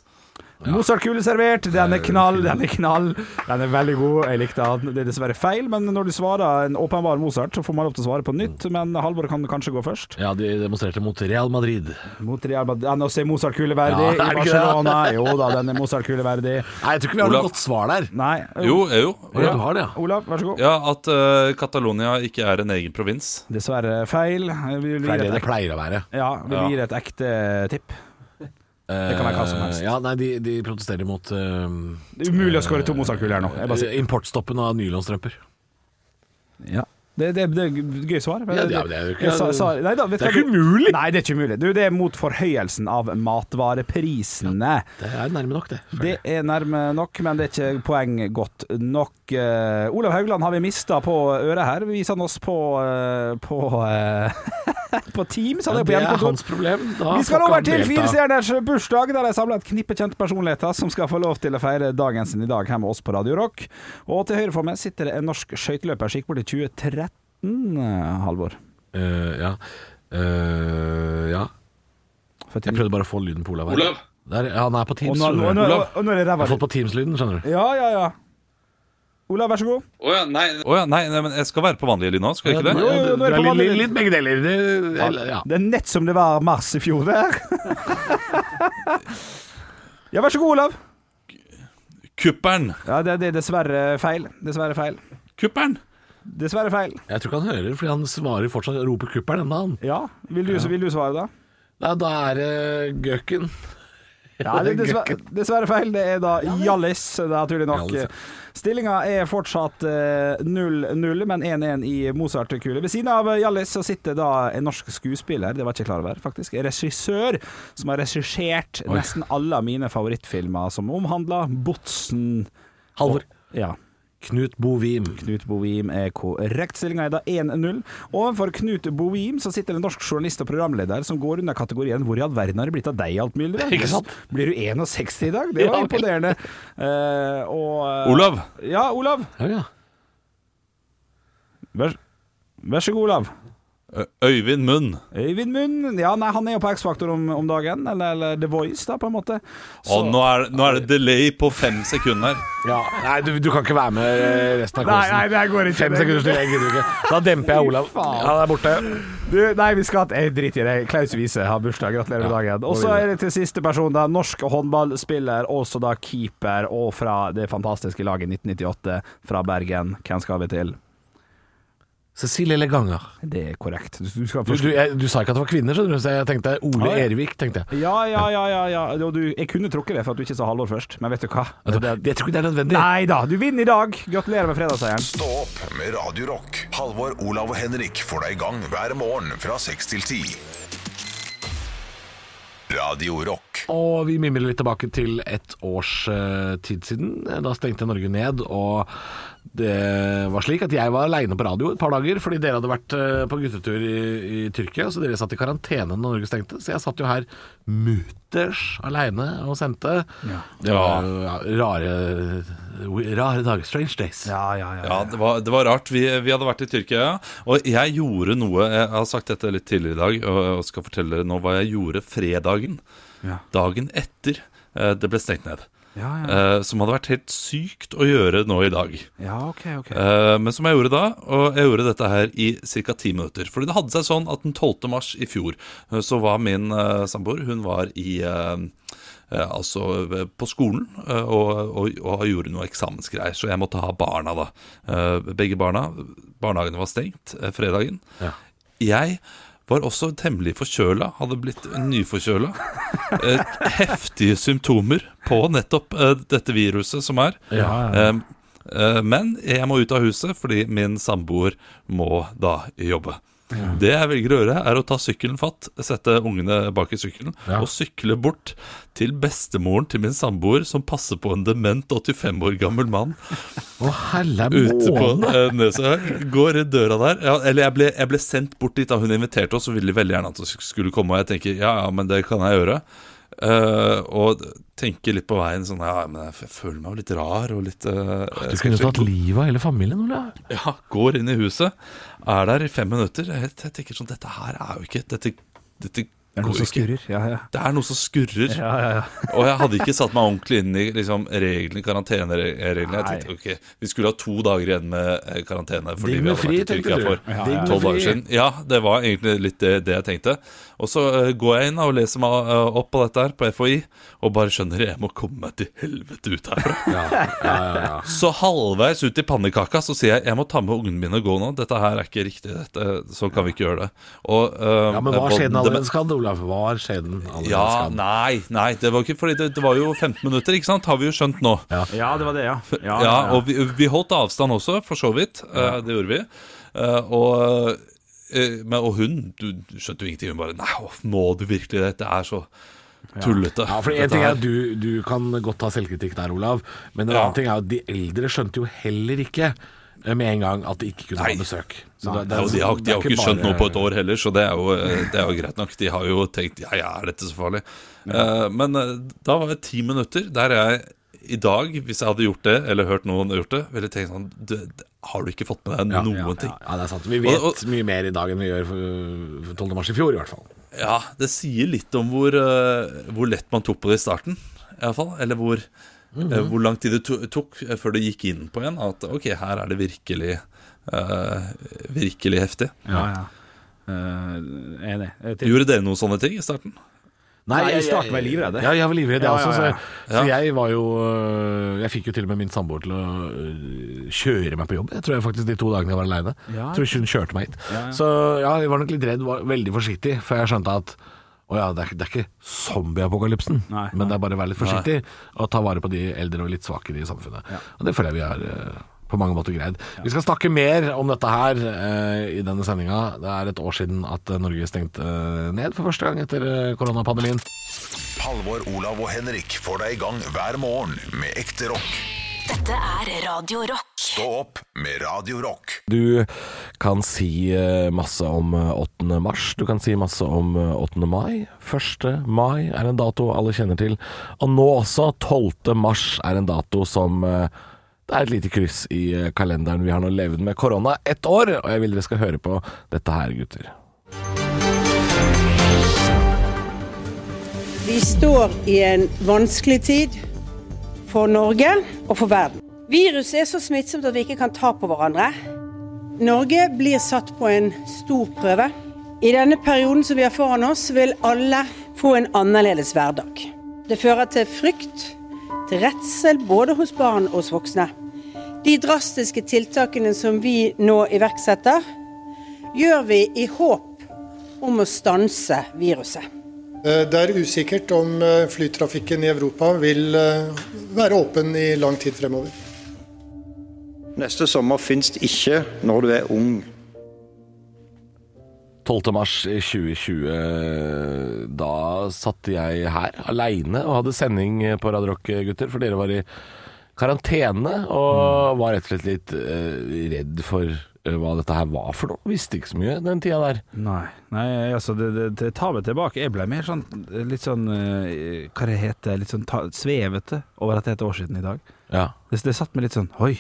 E: Mozart-kule servert, den er knall, den er knall. Den er veldig god, jeg likte den. Det er dessverre feil, men når du svarer en åpenbar Mozart, så får man lov til å svare på nytt. Men Halvor kan kanskje gå først.
C: Ja, de demonstrerte mot Real Madrid.
E: Mot Real Madrid. Den er også Mozart-kule verdig
C: Ja,
E: i
C: er det ikke det?
E: Barcelona. Jo da, den er Mozart-kule verdig.
C: Nei, jeg tror ikke vi har
D: Olav.
C: noe godt svar der.
E: Nei.
D: Jo, jo.
C: Å, ja, du har det, ja.
E: Olav, vær så god.
D: Ja, at eh, Catalonia ikke er en egen provins.
E: Dessverre feil. Vi vil
C: For
E: gi
C: det er det
E: et
C: det
E: ekte,
C: pleier å være.
E: ja, vi gir et ekte tipp. Det kan være hva som helst.
C: Eh, Ja, nei, de, de protesterer mot eh,
E: Det er umulig å skåre to Mozart-kuler her nå. Jeg bare sier.
C: importstoppen av nylonstrømper.
E: Ja. Det, det, det er gøy svar.
C: Ja, det er- det er jo ikke-
E: Jeg sa, sa, nei, da, vet
C: Det er
E: hva
C: ikke
E: du-
C: mulig!
E: Nei, det er ikke umulig. Du, det er mot forhøyelsen av matvareprisene.
C: Det er nærme nok, det.
E: Det er nærme nok, men det er ikke poeng godt nok. Eh, Olav Haugland har vi mista på øret her. Vi viser han oss på eh, på, eh, på Teams. Han
C: Ja,
E: er på
C: det er
E: hjemmekontor.
C: hans problem. Da
E: Vi skal
C: får ikke
E: over
C: han
E: til
C: delta.
E: Fire stjerners bursdag, der de samler et knippe kjente personligheter som skal få lov til å feire dagen sin i dag her med oss på Radio Rock. Og til høyre for meg sitter det en norsk skøyteløper som gikk bort i 2013, eh, Halvor.
C: Eh, ja. Eh, ja.
E: Født i-
C: Jeg prøvde bare å få lyden på Olav. her. Der, ja, han er på
E: Og
C: Teams.
E: nå, nå,
C: tror jeg.
E: nå,
C: Olav.
E: og nå er det
C: Jeg har
E: ræva
C: fått på Teams-lyden, skjønner du.
E: Ja, ja, ja. Olav, vær så god.
H: Å ja, nei,
D: Å ja, nei, nei, men jeg skal være på vanlig linje nå, skal jeg ikke det?
E: Jo, jo, nå er
C: det
E: det
C: er
E: på
C: litt,
E: vanlig-
C: litt, litt begge deler. Det- eller, Ja.
E: Det er nett som det var mars i fjor der. ja, vær så god, Olav.
D: Kuppern!
E: Ja, det det er dessverre feil. Dessverre feil.
D: Kuppern!
E: Dessverre feil.
C: Jeg tror ikke han hører, fordi han svarer fortsatt roper kuppelen ennå, han.
E: Ja, vil du, vil du svare da?
C: Nei, da er det gøken.
E: Ja, det er dessverre, dessverre feil. Det er da Hjallis, naturlig nok.
C: Hjallis, ja.
E: Stillinga er fortsatt eh, 0-0, men 1-1 i Mozart-kule. Ved siden av Hjallis så sitter da en norsk skuespiller, det var jeg ikke klar over, faktisk. Regissør, som har regissert nesten alle av mine favorittfilmer, som omhandler Botsen.
C: Halvor.
E: Ja.
C: Knut Bovim.
E: Knut Bovim er korrekt. Stillinga er da 1-0. Ovenfor Knut Bovim så sitter en norsk journalist og programleder som går under kategorien 'Hvor i all verden har det blitt av deg, alt mulig?'
C: Ikke sant?
E: Blir du 61 i dag? Det var
C: Ja, vel.
E: imponerende. Eh, og eh,
D: Olav!
E: Ja, Olav.
C: Ja, ja.
E: Vær, vær så god, Olav.
D: Ø- Øyvind Munn.
E: Øyvind Munn Ja, nei, han er jo på X-Faktor om, om dagen. Eller, eller The Voice, da, på en måte.
D: Å, nå er, nå er det delay på fem sekunder.
C: ja. Nei, du, du kan ikke være med eh, resten av kosen.
E: det her går ikke.
C: Fem sekunder til jeg gidder ikke. Da demper jeg Olav.
E: faen.
C: Han er borte.
E: Du, nei, vi skal ha Drit i det. Klaus Wiese har bursdag. Gratulerer med dagen. Og så er det til siste person, da. Norsk håndballspiller, også da keeper, og fra det fantastiske laget 1998 fra Bergen. Hvem skal vi til?
C: Cecilie Leganger.
E: Det er korrekt. Du, du skal
C: Du, du,
E: forstå.
C: jeg, du sa ikke at det var kvinner, skjønner du, så jeg tenkte Ole
E: ja.
C: Ervik. tenkte jeg.
E: Ja, ja, ja, ja. ja. Og Du, jeg kunne trukket det for at du ikke sa halvår først, men vet du hva?
C: Jeg tror jeg tror ikke det er nødvendig.
E: Nei da, du vinner i dag. Gratulerer med fredagsseieren.
A: Stå opp med Radio Rock. Halvor, Olav og Henrik får deg i gang hver morgen fra 6 til 10. Radio Rock.
C: Og vi mimrer litt tilbake til ett års eh, tid siden. Da stengte Norge ned, og det var slik at jeg var aleine på radio et par dager fordi dere hadde vært eh, på guttetur i, i Tyrkia, så dere satt i karantene når Norge stengte. Så jeg satt jo her mutters aleine og sendte. Det var ja, rare, rare dager. Strange days.
E: Ja, ja, ja.
D: Ja, det var, det var rart. Vi, vi hadde vært i Tyrkia, ja. og jeg gjorde noe Jeg har sagt dette litt tidligere i dag, og, og skal fortelle dere nå hva jeg gjorde fredagen.
E: Ja.
D: Dagen etter eh, det ble stengt ned.
E: Ja, ja.
D: Eh, som hadde vært helt sykt å gjøre nå i dag.
E: ja OK, OK.
D: Eh, men som jeg gjorde da, og jeg gjorde dette her i ca. ti minutter. Fordi det hadde seg sånn at den 12. mars i fjor eh, så var min eh, samboer Hun var i eh, eh, Altså eh, på skolen eh, og, og, og gjorde noe eksamensgreier, så jeg måtte ha barna, da. Eh, begge barna. Barnehagene var stengt eh, fredagen. Jeg var også temmelig forkjøla, hadde blitt nyforkjøla. Eh, heftige symptomer på nettopp eh, dette viruset som er. Eh, eh, men jeg må ut av huset fordi min samboer må da jobbe. Det jeg velger å gjøre, er å ta sykkelen fatt, sette ungene bak i sykkelen og sykle bort til bestemoren til min samboer, som passer på en dement 85 år gammel mann
C: Å, helle
D: ute på
C: måne!
D: eh, Nesøya. Går i døra der. Ja, eller jeg ble, jeg ble sendt bort dit da hun inviterte oss, og ville veldig gjerne at jeg skulle komme. Og jeg tenker ja, ja, men det kan jeg gjøre. Eh, og tenker litt på veien sånn ja, men jeg f- føler meg jo litt rar og litt eh,
E: Ah,
C: Du kunne tatt livet av hele familien, Ole.
D: ja, går inn i huset, er der i fem minutter. Jeg, jeg tenker sånn Dette her er jo ikke Dette, dette
E: det er
D: går
E: noe som
D: jo ikke.
E: skurrer. Ja, ja.
D: Det er noe som skurrer.
E: Ja, ja, ja.
D: Og jeg hadde ikke satt meg ordentlig inn i liksom, reglene, karantenereglene. Jeg tenkte, ok, Vi skulle ha to dager igjen med eh, karantene fordi
C: Digg
D: vi
C: med
D: hadde
C: fri,
D: vært i
C: tenkte
D: Tyrkia
C: du.
D: for
C: Ja, ja, ja.
D: tolv
C: Digg med
D: dager
C: fri.
D: siden. Ja, det var egentlig litt det, det jeg tenkte. Og så eh, går jeg inn da og leser meg eh, opp på dette her på FHI, og bare skjønner jeg må komme meg til helvete ut herfra. Så halvveis ut i pannekaka så sier jeg jeg må ta med ungene mine og gå nå. Dette her er ikke riktig, dette, så kan vi ikke gjøre det. Og, eh,
C: Ja, Men hva
D: og
C: skjer den
D: det-
C: allerede skadd, Olav? Hva skjer den allerede
D: ja,
C: skadd?
D: nei, nei, det var ikke fordi det, det var jo 15 minutter, ikke sant? Har vi jo skjønt nå. Ja,
E: ja, det var det, ja. Ja,
D: og vi, vi holdt avstand også, for så vidt. Eh, det gjorde vi. Eh, og, eh, men, og hun du, du skjønte jo ingenting. Hun bare Nei, å, må du virkelig det? Det er så tullete.
C: Ja, for En
D: dette
C: ting er
D: her.»
C: at du, du kan godt ta selvkritikk der, Olav. Men en
D: Ja.
C: annen ting er at de eldre skjønte jo heller ikke eh, med en gang at de ikke kunne
D: Nei.
C: ha besøk. Så det-
D: Ja,
C: det er-
D: og de har,
C: det
D: de
C: er
D: har ikke skjønt
C: bare-
D: noe på et år heller, så det er jo, eh, det er jo greit nok. De har jo tenkt ja, ja, er dette så farlig? Eh, men eh, da var det ti minutter der jeg i dag, hvis jeg hadde gjort det, eller hørt noen gjort det, ville tenkt sånn du, Har du ikke fått med deg
C: Ja,
D: noen
C: ja,
D: ting?
C: Ja, det er sant. Vi vet
D: Og- og-
C: mye mer i dag enn vi gjør for, for 12. mars i fjor, i hvert fall.
D: Ja, det sier litt om hvor, eh, hvor lett man tok på det i starten, iallfall. Eller hvor eh,
C: Mhm.
D: hvor lang tid det to tok eh, før det gikk inn på en at ok, her er det virkelig eh, virkelig heftig.
E: Ja, ja. Eh, enig. Eh, til-
D: Gjorde dere noen sånne ting i starten?
E: Nei, i starten var jeg livredd.
I: Ja, jeg var livredd, jeg
E: Ja,
I: også.
E: ja, ja.
I: Så, så jeg var jo øh, Jeg fikk jo til og med min samboer til å øh, kjøre meg på jobb. Jeg tror jeg faktisk de to dagene jeg var aleine.
E: Ja.
I: Tror ikke hun kjørte meg hit.
E: Ja, ja.
I: Så ja, jeg var nok litt redd, var veldig forsiktig, før jeg skjønte at å ja, det er, ikke- det er ikke zombieapokalypsen,
E: Nei,
I: men det er bare å være litt forsiktig og ta vare på de eldre og litt svakere i samfunnet. Og det føler jeg vi har øh, på mange måter greid. Vi skal snakke mer om dette her øh, i denne sendinga. Det er et år siden at øh, Norge stengte øh, ned for første gang etter øh, koronapandemien.
A: Halvor, Olav og Henrik får deg i gang hver morgen med ekte rock.
B: Dette er Radio Rock.
A: Stå opp med Radio Rock.
C: Du kan si eh, masse om eh, 8. mars, du kan si masse om eh, 8. mai. 1. mai er en dato alle kjenner til. Og nå også 12. mars er en dato som eh, det er et lite kryss i eh, kalenderen. Vi har nå levd med korona ett år, og jeg vil dere skal høre på dette her, gutter.
J: Vi står i en vanskelig tid for Norge og for verden. Virus er så smittsomt at vi ikke kan ta på hverandre. Norge blir satt på en stor prøve. I denne perioden som vi har foran oss, vil alle få en annerledes hverdag. Det fører til frykt, til redsel både hos barn og hos voksne. De drastiske tiltakene som vi nå iverksetter, gjør vi i håp om å stanse viruset.
K: Eh, Det er usikkert om eh, flytrafikken i Europa vil eh, være åpen i lang tid fremover.
L: Neste sommer fins det ikke når du er ung.
C: 12. mars i 2020, da satt jeg her aleine og hadde sending på Radio Rock, gutter, for dere var i karantene og var rett og slett litt eh, redd for eh, hva dette her var for noe. Visste ikke så mye den tida der.
E: Nei, nei altså, det, det, det tar meg tilbake. Jeg ble mer sånn litt sånn eh, Hva det heter Litt sånn ta, svevete over at det er et år siden i dag.
C: Ja.
E: Det, det satt meg litt sånn Oi,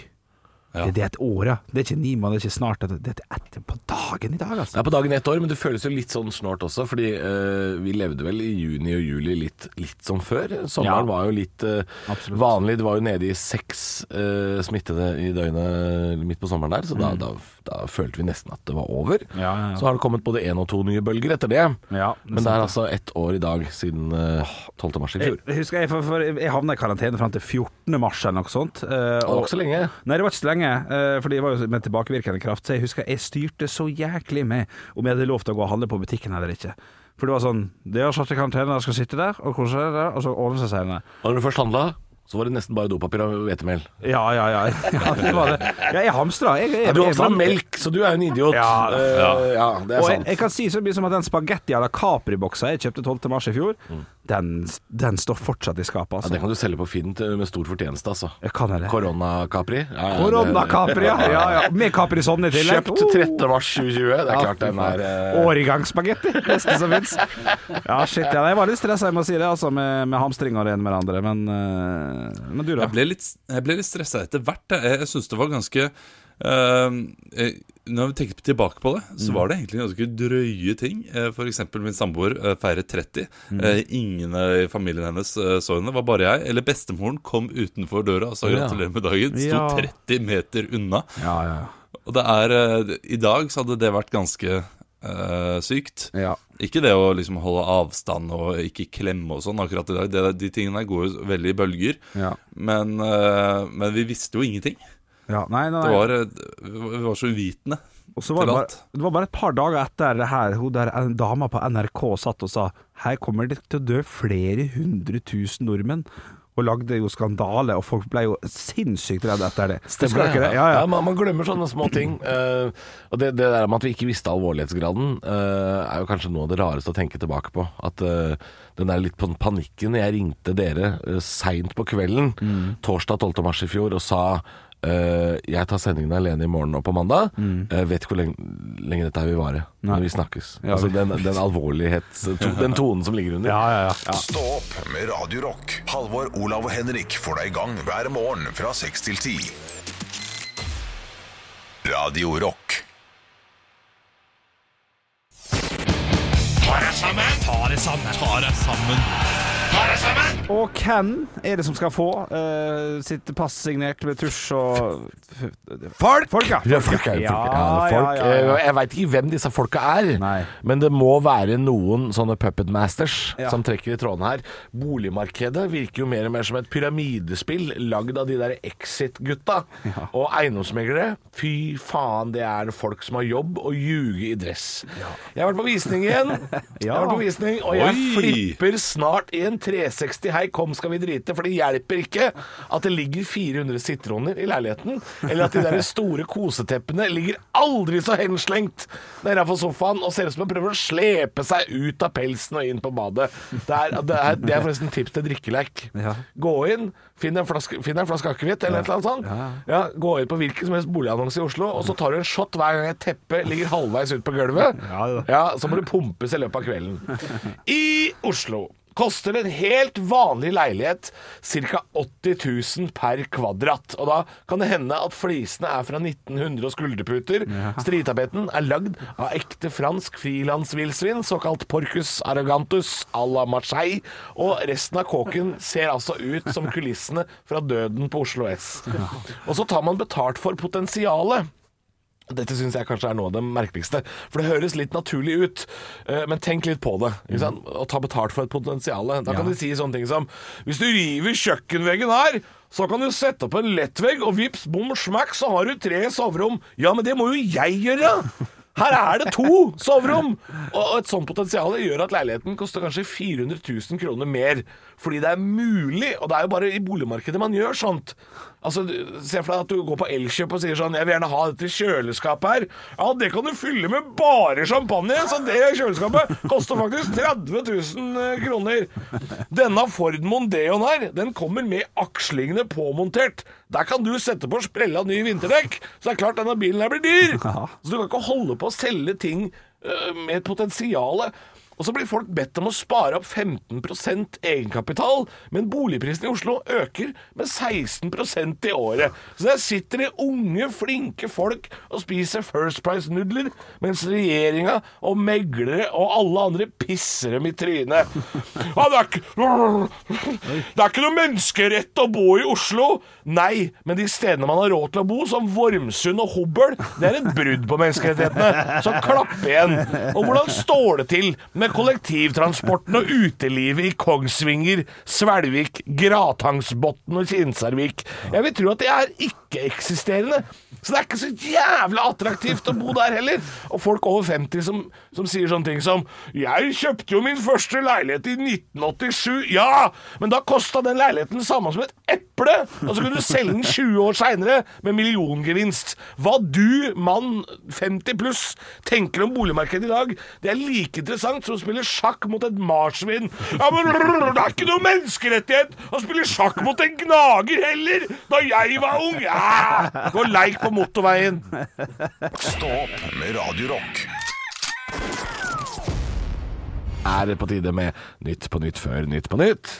E: det, det er et år, ja. Det er ikke ni måneder, det er ikke snart. Det det er etter på dagen i dag, altså.
C: Det er på dagen ett år, men det føles jo litt sånn snålt også, fordi eh, vi levde vel i juni og juli litt, litt som før.
E: Ja.
C: Sommeren var jo litt eh,
E: Absolutt.
C: vanlig. Det var jo nede i seks eh, smittede i døgnet midt på sommeren der, så da, da, da følte vi nesten at det var over.
E: Ja, ja, ja.
C: Så har det kommet både én og to nye bølger etter det.
E: Ja, det er
C: men det
E: sant,
C: er altså ett år i dag siden eh, 12. mars i
E: Jeg,
C: fjor.
E: jeg husker jeg, for, for, jeg havna i karantene fram til 14. mars eller noe sånt. eh,
C: Det var ikke så lenge.
E: Nei, det var ikke så lenge, eh, for det var jo med tilbakevirkende kraft. Så jeg husker jeg styrte så jæklig med om jeg hadde lov til å gå og handle på butikken eller ikke. For det var sånn Det har satt i karantene, jeg skal sitte der og kose deg, og så ordner det seg senere.
C: Og når du først handla, så var det nesten bare dopapir og hvetemel.
E: Ja, ja, ja. ja det var det. Ja, jeg hamstra. Jeg, jeg,
C: Ja,
E: jeg,
C: du har også melk, så du er jo en idiot.
E: Ja.
C: Eh, ja det er
E: og jeg,
C: sant.
E: jeg kan si så mye som at den spagetti à la Capri-boksa jeg kjøpte 12. mars i fjor, den, den står fortsatt i skapet,
C: Mm. Ja,
E: altså.
C: den kan du selge på Finn til- med stor fortjeneste, altså.
E: Jeg kan det.
C: Korona-Capri. Ja, ja,
E: Korona-Capri, ja, ja, ja. Med Capri Sonne i
C: det-
E: tillegg.
C: Kjøpt 13. mars 2020. Det er klart den er eh,
E: Årgangsspagetti, beste som fins. Ja, shit. Ja, jeg var litt stressa, jeg må si det, altså, med, med hamstring og det ene med det andre. Men, eh, men du, da?
D: Jeg ble litt, jeg ble litt stressa etter hvert. jeg. Jeg, jeg syns det var ganske eh, eh, Når vi tenker tilbake på det, så
E: Mm.
D: var det egentlig ganske drøye ting. Eh, For eksempel min samboer eh, feiret 30.
E: Mm.
D: Eh, Ingen eh, i familien hennes eh, så henne. Det var bare jeg. Eller bestemoren kom utenfor døra og sa
C: Ja.
D: gratulerer med dagen. Sto
E: Ja.
D: 30 meter unna.
E: Ja, ja,
D: Og det er eh, I dag så hadde det vært ganske eh, sykt.
E: ja.
D: Ikke det å liksom holde avstand og ikke klemme og sånn akkurat i dag. Det, de tingene der går jo veldig i bølger.
E: ja,
D: Men, eh, men vi visste jo ingenting.
E: ja. Nei, nei,
D: Det
E: nei.
D: var, eh, vi var så uvitende.
E: Og så var det,
D: til
E: bare,
D: alt.
E: det var bare et par dager etter det her hun der en dama på NRK satt og sa her kommer det til å dø flere hundre tusen nordmenn. Og lagde jo skandale, og folk ble jo sinnssykt redde etter det.
C: Stemmer
E: Husker dere
C: det?
E: ikke det? Ja, ja.
C: man, man glemmer sånne små ting. eh, og det, det der med at vi ikke visste alvorlighetsgraden, eh, er jo kanskje noe av det rareste å tenke tilbake på. At eh, den der litt pan- panikken Jeg ringte dere uh, seint på kvelden
E: Mm.
C: torsdag 12. mars i fjor og sa eh, jeg tar sendingen alene i morgen og på mandag.
E: Mm.
C: Eh, vet ikke hvor lenge, lenge dette her vil vare. Men vi snakkes. altså den, den alvorlighets... To, den tonen som ligger under.
E: Ja, ja, ja. ja.
A: Stå opp med Radio Rock. Halvor, Olav og Henrik får deg i gang hver morgen fra 6 til 10. Radio Rock.
D: Ta deg sammen! Ta deg sammen! Ta deg sammen! Ta
E: Og hvem er det som skal få eh, sitt pass signert med tusj og Folk! Folk, ja.
C: Ja, folk er jo folk. Ja,
E: Ja,
C: folk.
E: ja, ja, ja.
C: Eh, Jeg veit ikke hvem disse folka er, men det må være noen sånne puppet masters
E: Ja.
C: som trekker i trådene her. Boligmarkedet virker jo mer og mer som et pyramidespill lagd av de der Exit-gutta. Og eiendomsmeglere. Fy faen, det er folk som har jobb og ljuger i dress. Jeg har vært på visning igjen. Jeg har vært på visning, og jeg
D: Oi.
C: flipper snart i en 360 Hei, kom skal vi drite, for det hjelper ikke at det ligger 400 sitroner i leiligheten, eller at de der store koseteppene ligger aldri så henslengt nede på sofaen og ser ut som de prøver å slepe seg ut av pelsen og inn på badet. Det er, det er, det er forresten tips til drikkeleik. Gå inn, finn en flaske, finn en flaske akevitt eller et eller annet sånt. Ja, gå inn på hvilken som helst boligannonse i Oslo, og så tar du en shot hver gang et teppe ligger halvveis ut på gulvet. Ja, så må du pumpes i løpet av kvelden. I Oslo koster en helt vanlig leilighet ca. 80 000 per kvadrat. Og da kan det hende at flisene er fra 1900 og skulderputer. Stritapeten er lagd av ekte fransk frilansvillsvin, såkalt porcus arrogantus à la Marseille. Og resten av kåken ser altså ut som kulissene fra døden på Oslo S. Og så tar man betalt for potensialet. Dette syns jeg kanskje er noe av det merkeligste. For det høres litt naturlig ut, eh, men tenk litt på det. Ikke sant? Og ta betalt for et potensial. Da kan
E: Ja.
C: de si sånne ting som Hvis du river kjøkkenveggen her, så kan du sette opp en lettvegg, og vips, bom, smakk, så har du tre soverom. Ja, men det må jo jeg gjøre! Her er det to soverom! Og og et sånt potensial gjør at leiligheten koster kanskje 400 000 kroner mer. Fordi det er mulig, og det er jo bare i boligmarkedet man gjør sånt. Altså, du- Se for deg at du går på Elkjøp og sier sånn 'Jeg vil gjerne ha dette kjøleskapet her'. Ja, det kan du fylle med bare champagne, så det kjøleskapet koster faktisk 30 000 kroner. Denne Ford Mondeoen her, den kommer med akslingene påmontert. Der kan du sette på sprella nye vinterdekk, så det er klart denne bilen her blir dyr. Så du kan ikke holde på å selge ting eh, med et potensial. Og så blir folk bedt om å spare opp 15 egenkapital, men boligprisen i Oslo øker med 16 i året. Så der sitter det unge, flinke folk og spiser First Price-nudler, mens regjeringa og meglere og alle andre pisser dem i trynet. Ja, det, er ikke, det er ikke noe menneskerett å bo i Oslo. Nei, men de stedene man har råd til å bo, som Vormsund og Hobøl, det er et brudd på menneskerettighetene. Så klapp igjen. Og hvordan står det til med kollektivtransporten og utelivet i Kongsvinger, Svelvik, Gratangsbotn og Kinsarvik? Jeg vil tro at det er ikke-eksisterende. Så det er ikke så jævla attraktivt å bo der heller. Og folk over 50 som, som sier sånne ting som Liksom, Jeg kjøpte jo min første leilighet i 1987. Ja, men da kosta den leiligheten det samme som et eple! Og så kunne du selge den 20 år seinere med milliongevinst. Hva du, mann 50 pluss, tenker om boligmarkedet i dag, det er like interessant som å spille sjakk mot et marsvin. Ja, men det er ikke noe menneskerettighet å spille sjakk mot en gnager heller! Da jeg var ung! Ja! Gå og leik på motorveien.
A: Stå opp med Radio Rock.
C: Er det på tide med Nytt på nytt før Nytt på nytt?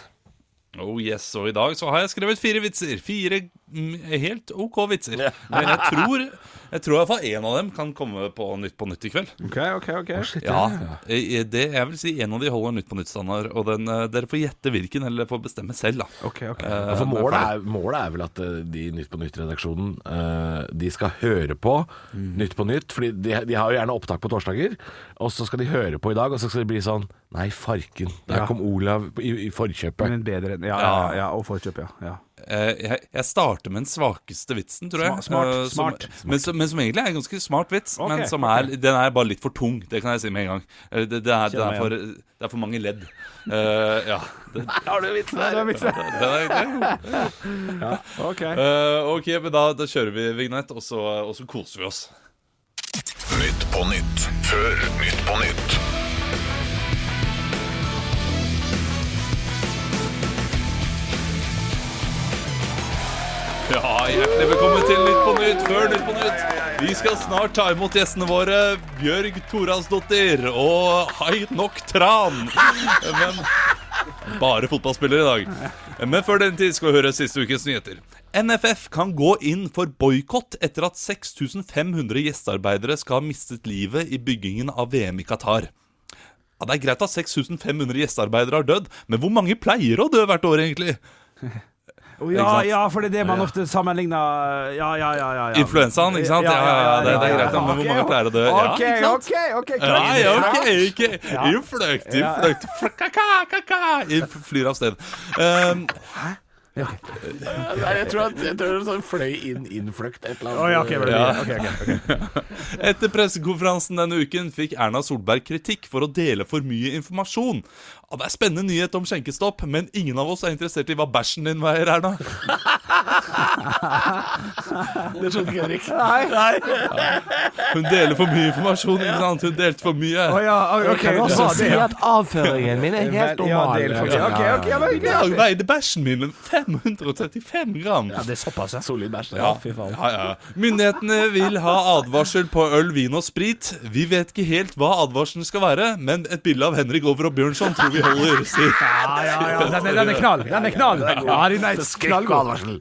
D: Oh yes, og i dag så har jeg skrevet fire vitser. Fire mm, helt OK vitser. Men jeg tror Jeg tror i hvert fall én av dem kan komme på Nytt på Nytt i kveld.
E: OK, OK. ok
D: Ja, eh, det jeg vil si En av de holder Nytt på Nytt-standard. Og den, eh, dere får gjette hvilken, eller dere får bestemme selv, da.
E: Ok, ok.
D: Eh,
C: Ja, for
D: men
C: målet er, målet er vel at eh, de i Nytt på Nytt-redaksjonen eh, De skal høre på Nytt på Nytt. Fordi de, de har jo gjerne opptak på torsdager, og så skal de høre på i dag, og så skal det bli sånn Nei, farken, der
E: Ja.
C: kom Olav i, i forkjøpet.
E: Men bedre enn Ja, ja, ja, ja og forkjøp, ja. ja.
D: Eh, jeg, jeg starter med den svakeste vitsen, tror jeg.
E: Sma- smart,
D: Eh, som,
E: smart.
D: Men, som, men som egentlig er en ganske smart vits.
E: Ok,
D: men som er, den er bare litt for tung. Det kan jeg si med en gang. Eh, Det, det, er, det,
E: Kjenner meg
D: er, for, det er for mange ledd. Eh, ja. Det,
C: Har du vitsen der?
D: den er, den er god.
E: OK.
D: Eh, ok, men da, da kjører vi vignett, og så, og så koser vi oss.
A: Nytt på nytt før Nytt på nytt.
D: Ja, Hjertelig velkommen til Nytt på Nytt før Nytt på Nytt. Vi skal snart ta imot gjestene våre Bjørg Thoralsdottir og Hai Nok Tran. Men bare fotballspillere i dag. Men før den tid skal vi høre siste ukens nyheter. NFF kan gå inn for boikott etter at 6500 gjestearbeidere skal ha mistet livet i byggingen av VM i Qatar. Ja, det er greit at 6500 gjestearbeidere har dødd, men hvor mange pleier å dø hvert år, egentlig?
E: Å, ja,
D: Ikke sant?
E: ja, for det er det man ofte sammenligner Ja, ja, ja. ja, ja.
D: Influensaen, ikke sant? Ja, ja, ja, det, det er greit, men hvor mange pleier å dø? Ja,
E: OK,
D: ikke sant?
E: OK. ok
D: Ja, ja, ok, ok
E: Ja.
D: Innfløkt,
E: Ja.
D: innfløkt Flakaka, flyr av sted um,
C: Nei, jeg tror at jeg tror det sånn fløy inn, innfløkt et eller annet.
E: Å, ja, ok, vel,
D: Ja.
E: ok, ok, ok.
D: Etter pressekonferansen denne uken fikk Erna Solberg kritikk for å dele for mye informasjon ja, Det er spennende nyhet om skjenkestopp Men ingen av oss er interessert i hva bæsjen din veier, Erna
C: Det skjønte ikke Henrik.
D: Hun deler for mye informasjon, ikke sant? Hun delte for mye
E: Å, ja, ok,
M: Kan
E: du
M: også
E: sa
M: si
E: det, ja.
M: at avføringen min er helt
E: Ja,
M: normal.
E: del for- ja, ok, ok, ja, men
D: I dag veide bæsjen min 535 gram
E: Ja, det er såpass, ja.
C: Solid bæsj.
D: Ja, ja, ja. Myndighetene vil ha advarsel på øl, vin og sprit. Vi vet ikke helt hva advarselen skal være, men et bilde av Henrik Over og Bjørnson tror vi holder. sier-
E: Ja, ja, ja. Den, er- den er knall. Den er knall. Ja, den er
C: Skrekk og advarsel.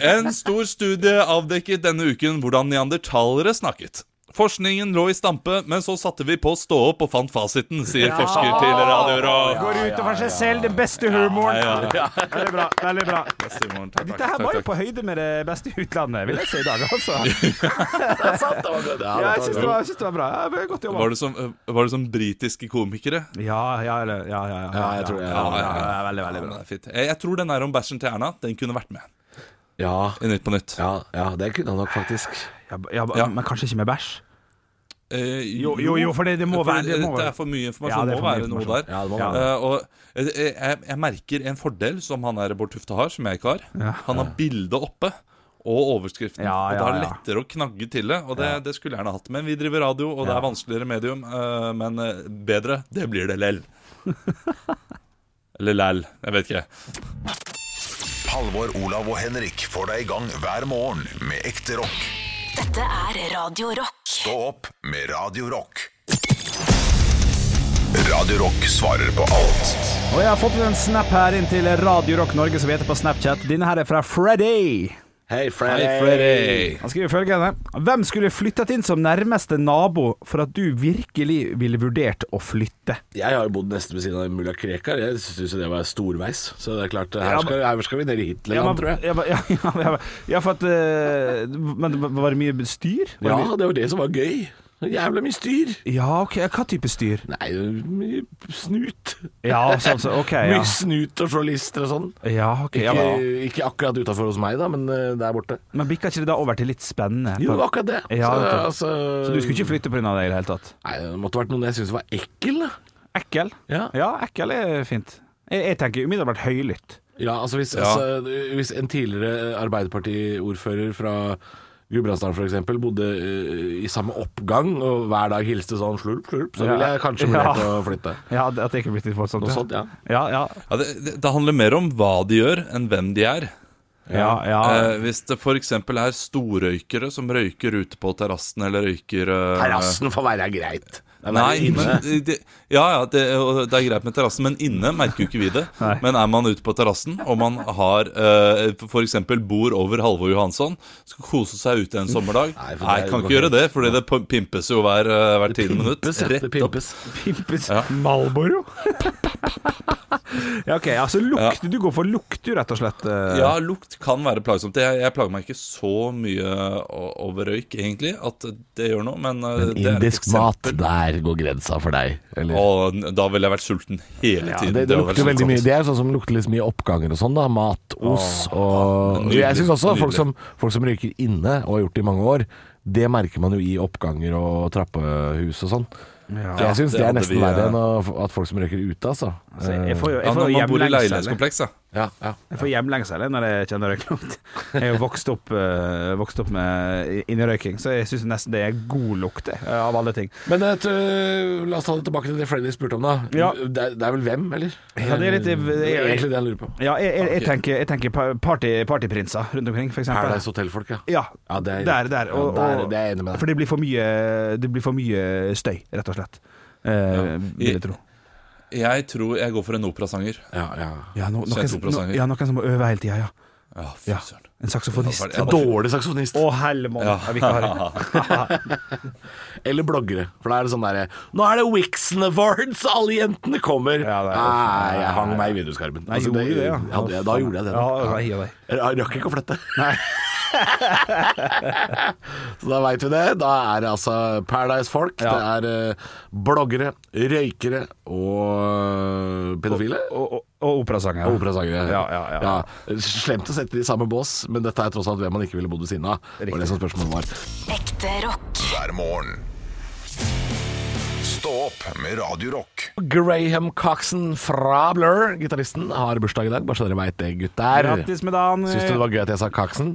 D: En stor studie avdekket denne uken hvordan neandertalere snakket. Forskningen lå i stampe, men så satte vi på stå opp og fant fasiten, sier forsker til Radio Rock.
E: Ah. Går ut over seg selv. Den beste humoren. Veldig bra. veldig bra
D: Simon, takk,
E: Dette her
D: takk,
E: var
D: takk,
E: jo
D: takk.
E: på høyde med det beste i utlandet, vil jeg si i dag, altså.
C: Det er sant, det var godt.
E: Ja,
C: Ja,
E: jeg syns det, var- jeg synes det var bra. Ja, det var godt jobba.
D: Var det som, eh, var det som britiske komikere?
E: Ja, ja, eller- ja. ja, ja,
C: Ja, jeg tror det.
E: ja, ja, ja, Veldig, veldig bra.
D: Ja, det er fint. Jeg, jeg tror den er om bæsjen til Erna. Den kunne vært med
C: ja,
D: i Nytt på Nytt.
C: ja, ja, det kunne han nok faktisk.
E: Ja, ja,
D: Ja.
E: Men kanskje ikke med bæsj?
D: Eh,
E: Jo, jo, jo, for det, det må
D: For
E: være Det må
D: det
E: være
D: er for mye
E: Ja,
D: informasjon.
E: det
D: det må
E: er for mye
D: være noe
E: informasjon.
D: der.
C: Ja, det må
E: Ja.
C: være.
D: Eh, og jeg, jeg, jeg merker en fordel som han her Bård Tufte har, som jeg ikke har.
E: Ja.
D: Han har bildet oppe og overskriften.
E: Ja,
D: og da er
E: ja,
D: det
E: ja.
D: lettere å knagge til det. Og det, det skulle jeg gjerne hatt. Men vi driver radio, og det er vanskeligere medium. eh, men eh, bedre, det blir det lell. Eller læl. Jeg vet ikke.
A: Halvor, Olav og Henrik får deg i gang hver morgen med ekte rock.
B: Dette er Radio Rock.
A: Stå opp med Radio Rock. Radio Rock svarer på alt.
E: Og jeg har fått en snap her inn til Radio Rock Norge, som vi heter på Snapchat. Denne her er fra Freddy.
C: Hei, Freddy.
E: Han skriver følgende Hvem skulle flyttet inn som nærmeste nabo for at du virkelig ville vurdert å flytte?
C: Jeg har jo bodd nesten ved siden av mulla Krekar. Jeg syns det var storveis. Så det er klart, her
E: Ja,
C: skal, her skal vi ned i Hitlerland,
E: men-
C: tror jeg.
E: ja, men- ja, ja, men- ja, men- ja, for at eh, Men det var- var det mye styr? Var
C: Ja,
E: det mye-
C: det var det som var gøy. Jævla mye styr.
E: ja, ok, hva type styr?
C: Nei, det var mye snut.
E: Ja, sånn så, ok ja.
C: Mye snut og journalister og sånn.
E: Ja, ok, ja,
C: Ikke,
E: men,
C: ikke akkurat utafor hos meg, da, men eh, der borte.
E: men bikka ikke det da over til litt spennende?
C: Jo, det var akkurat det.
E: Ja,
C: så,
E: ok.
C: altså,
E: Så du skulle ikke flytte pga. det i det hele tatt?
C: Nei, det måtte vært noen jeg syntes var ekkel. da.
E: Ekkel?
C: Ja.
E: Ja, ekkel er fint. Jeg, jeg tenker umiddelbart høylytt.
C: Ja, altså hvis, altså, hvis en tidligere Arbeiderparti-ordfører fra Gudbrandsdalen f.eks. bodde eh, i samme oppgang og hver dag hilste sånn slurp, slurp, så
E: Ja.
C: ville jeg kanskje
E: Ja.
C: vurdert å flytte.
E: Ja, at det ikke er blitt litt voldsomt.
C: Noe sånt, ja.
E: Ja, ja.
D: Ja, det, det, det handler mer om hva de gjør, enn hvem de er.
E: ja, ja.
D: Eh, hvis det f.eks. er storrøykere som røyker ute på terrassen, eller røyker eh,
C: Terrassen får være greit. Det er verre
D: Nei,
C: inne.
D: men det, Ja, ja, det, og det er greit med terrassen, men inne merker jo ikke vi det.
E: Nei.
D: Men er man ute på terrassen, og man har eh, for eksempel bor over Halvor Johansson, skal kose seg ute en sommerdag Nei,
C: Nei, for det er jo
D: kan
C: bare-
D: ikke gjøre det, fordi det p- pimpes jo hver, eh, hvert tiende minutt.
C: Pimpes, ja, det
D: Rett opp.
C: pimpes.
E: Pimpes
D: Ja.
E: Malboro? ja, ok, altså lukt Du går for lukt, du, rett og slett. eh.
D: Ja, lukt kan være plagsomt. Jeg, jeg plager meg ikke så mye o- over røyk, egentlig, at det gjør noe, men, eh, det er et
C: Indisk
D: eksempel.
C: mat, der går grensa for deg. Eller?
D: Og da ville jeg vært sulten hele
C: Ja,
D: tiden.
C: det, det
D: hadde vært
C: lukter veldig
D: slitsomt.
C: mye Det er sånn som lukter liksom mye oppganger og sånn da Mat, os og
D: nydelig,
C: Jeg synes også folk
D: nydelig.
C: som, folk som røyker inne Og har gjort det i mange år Det merker man jo i oppganger og trappehus og sånn Så Jeg
D: det
C: synes det, er
D: hadde
C: nesten
D: vi,
C: verre enn
D: eh,
C: å- at folk som røyker ute altså.
E: Altså, jeg får jo,
D: Ja,
E: jeg får
D: når
E: jo
D: man bor i
E: hjemlengsel.
D: leilighetskompleks, ja.
C: Ja, ja
E: Jeg får hjemlengsel jeg, når jeg kjenner røyklukt. Jeg er jo vokst opp, eh, vokst opp med innerøyking, så jeg syns nesten det er god lukt, jeg, av alle ting.
C: Men eh, t- la oss ta det tilbake til det Freddy spurte om da
E: Ja.
C: det, er, det er vel hvem, eller?
E: Ja, det er litt-
C: Det er egentlig det jeg lurer på
E: Ja, jeg, jeg, jeg tenker, jeg tenker pa- party, partyprinser rundt omkring, for eksempel.
C: Paradise Hotel-folk, ja
E: Ja,
C: sånn? Ja, det er-
E: der, der. Og,
C: Ja, der-
E: og-
C: det er jeg enig med deg.
E: For det blir for mye, det blir for mye støy, rett og slett. Eh, vil jeg tro.
D: Jeg tror jeg går for en operasanger.
C: Ja, ja
E: Ja, no,
D: Så
E: noen,
D: jeg er
E: som-
D: to prosent.
E: no, ja, noen som må øve hele tida, ja. Ja, en saksofonist.
C: En dårlig saksofonist.
E: Å, hellemann. Ja, vi kan ha det.
C: Eller bloggere. For da er det sånn derre Nå er det Wixon Awards, alle jentene kommer! Nei, jeg hang meg i vinduskarmen.
E: Nei,
C: Altså,
E: gjorde du det, ja?
C: hadde jeg- Da gjorde jeg det. da.
E: Ja, nei, ja, nei.
C: Jeg rakk ikke å flytte. Så da veit vi det. Da er det altså Paradise-folk. Det er eh, bloggere, røykere og eh, pedofile.
E: Og, og, og operasangere.
C: Og operasangere.
E: Ja, ja, ja.
C: Ja, Slemt å sette de i samme bås, men dette er tross alt hvem man ikke ville bodd ved siden av. Var det som spørsmålet var.
B: Ekte rock.
A: hver morgen. Stå opp med Radio Rock.
C: Graham Coxon fra Blur, gitaristen, har bursdag i dag. Bare så dere veit det, gutter.
E: Grattis med dagen. eh,
C: Syns du det var gøy at jeg sa Coxon?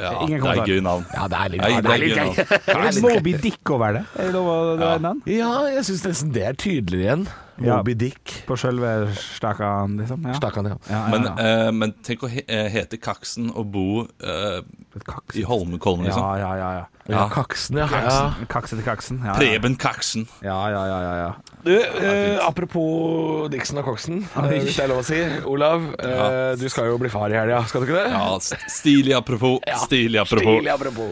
D: Ja, det
E: Ingen
D: er
E: kommentar.
D: gøy navn.
C: Ja, det er litt,
D: Nei,
C: det er litt
D: det er
C: gøy.
D: gøy,
C: Det er
E: Er det
C: litt gøy.
E: Moby Dick over det? Er det lov å dra inn den?
C: Ja, jeg syns nesten det er tydeligere igjen.
E: Ja.
C: Moby Dick.
E: På sjølve stakan, liksom? Ja.
C: Stakk han, ja.
E: Ja, ja,
D: Men,
E: ja.
D: eh, men tenk å he eh, hete Kaksen og bo eh,
E: Et kaks.
D: i Holmenkollen,
E: Ja,
D: liksom.
E: ja, ja. ja.
C: Ja, Kaksen, ja. ja.
E: Kaksen. Kakse til kaksen. Ja, ja.
D: Preben Kaksen.
E: ja, ja, ja, ja, ja.
C: Du, eh, apropos Dixon og Coxen, eh, hvis det er lov å si. Olav, eh, du skal jo bli far i helga, skal du ikke det?
D: Ja, s- stilig apropos. Stilig apropos.
C: Stilig, apropos.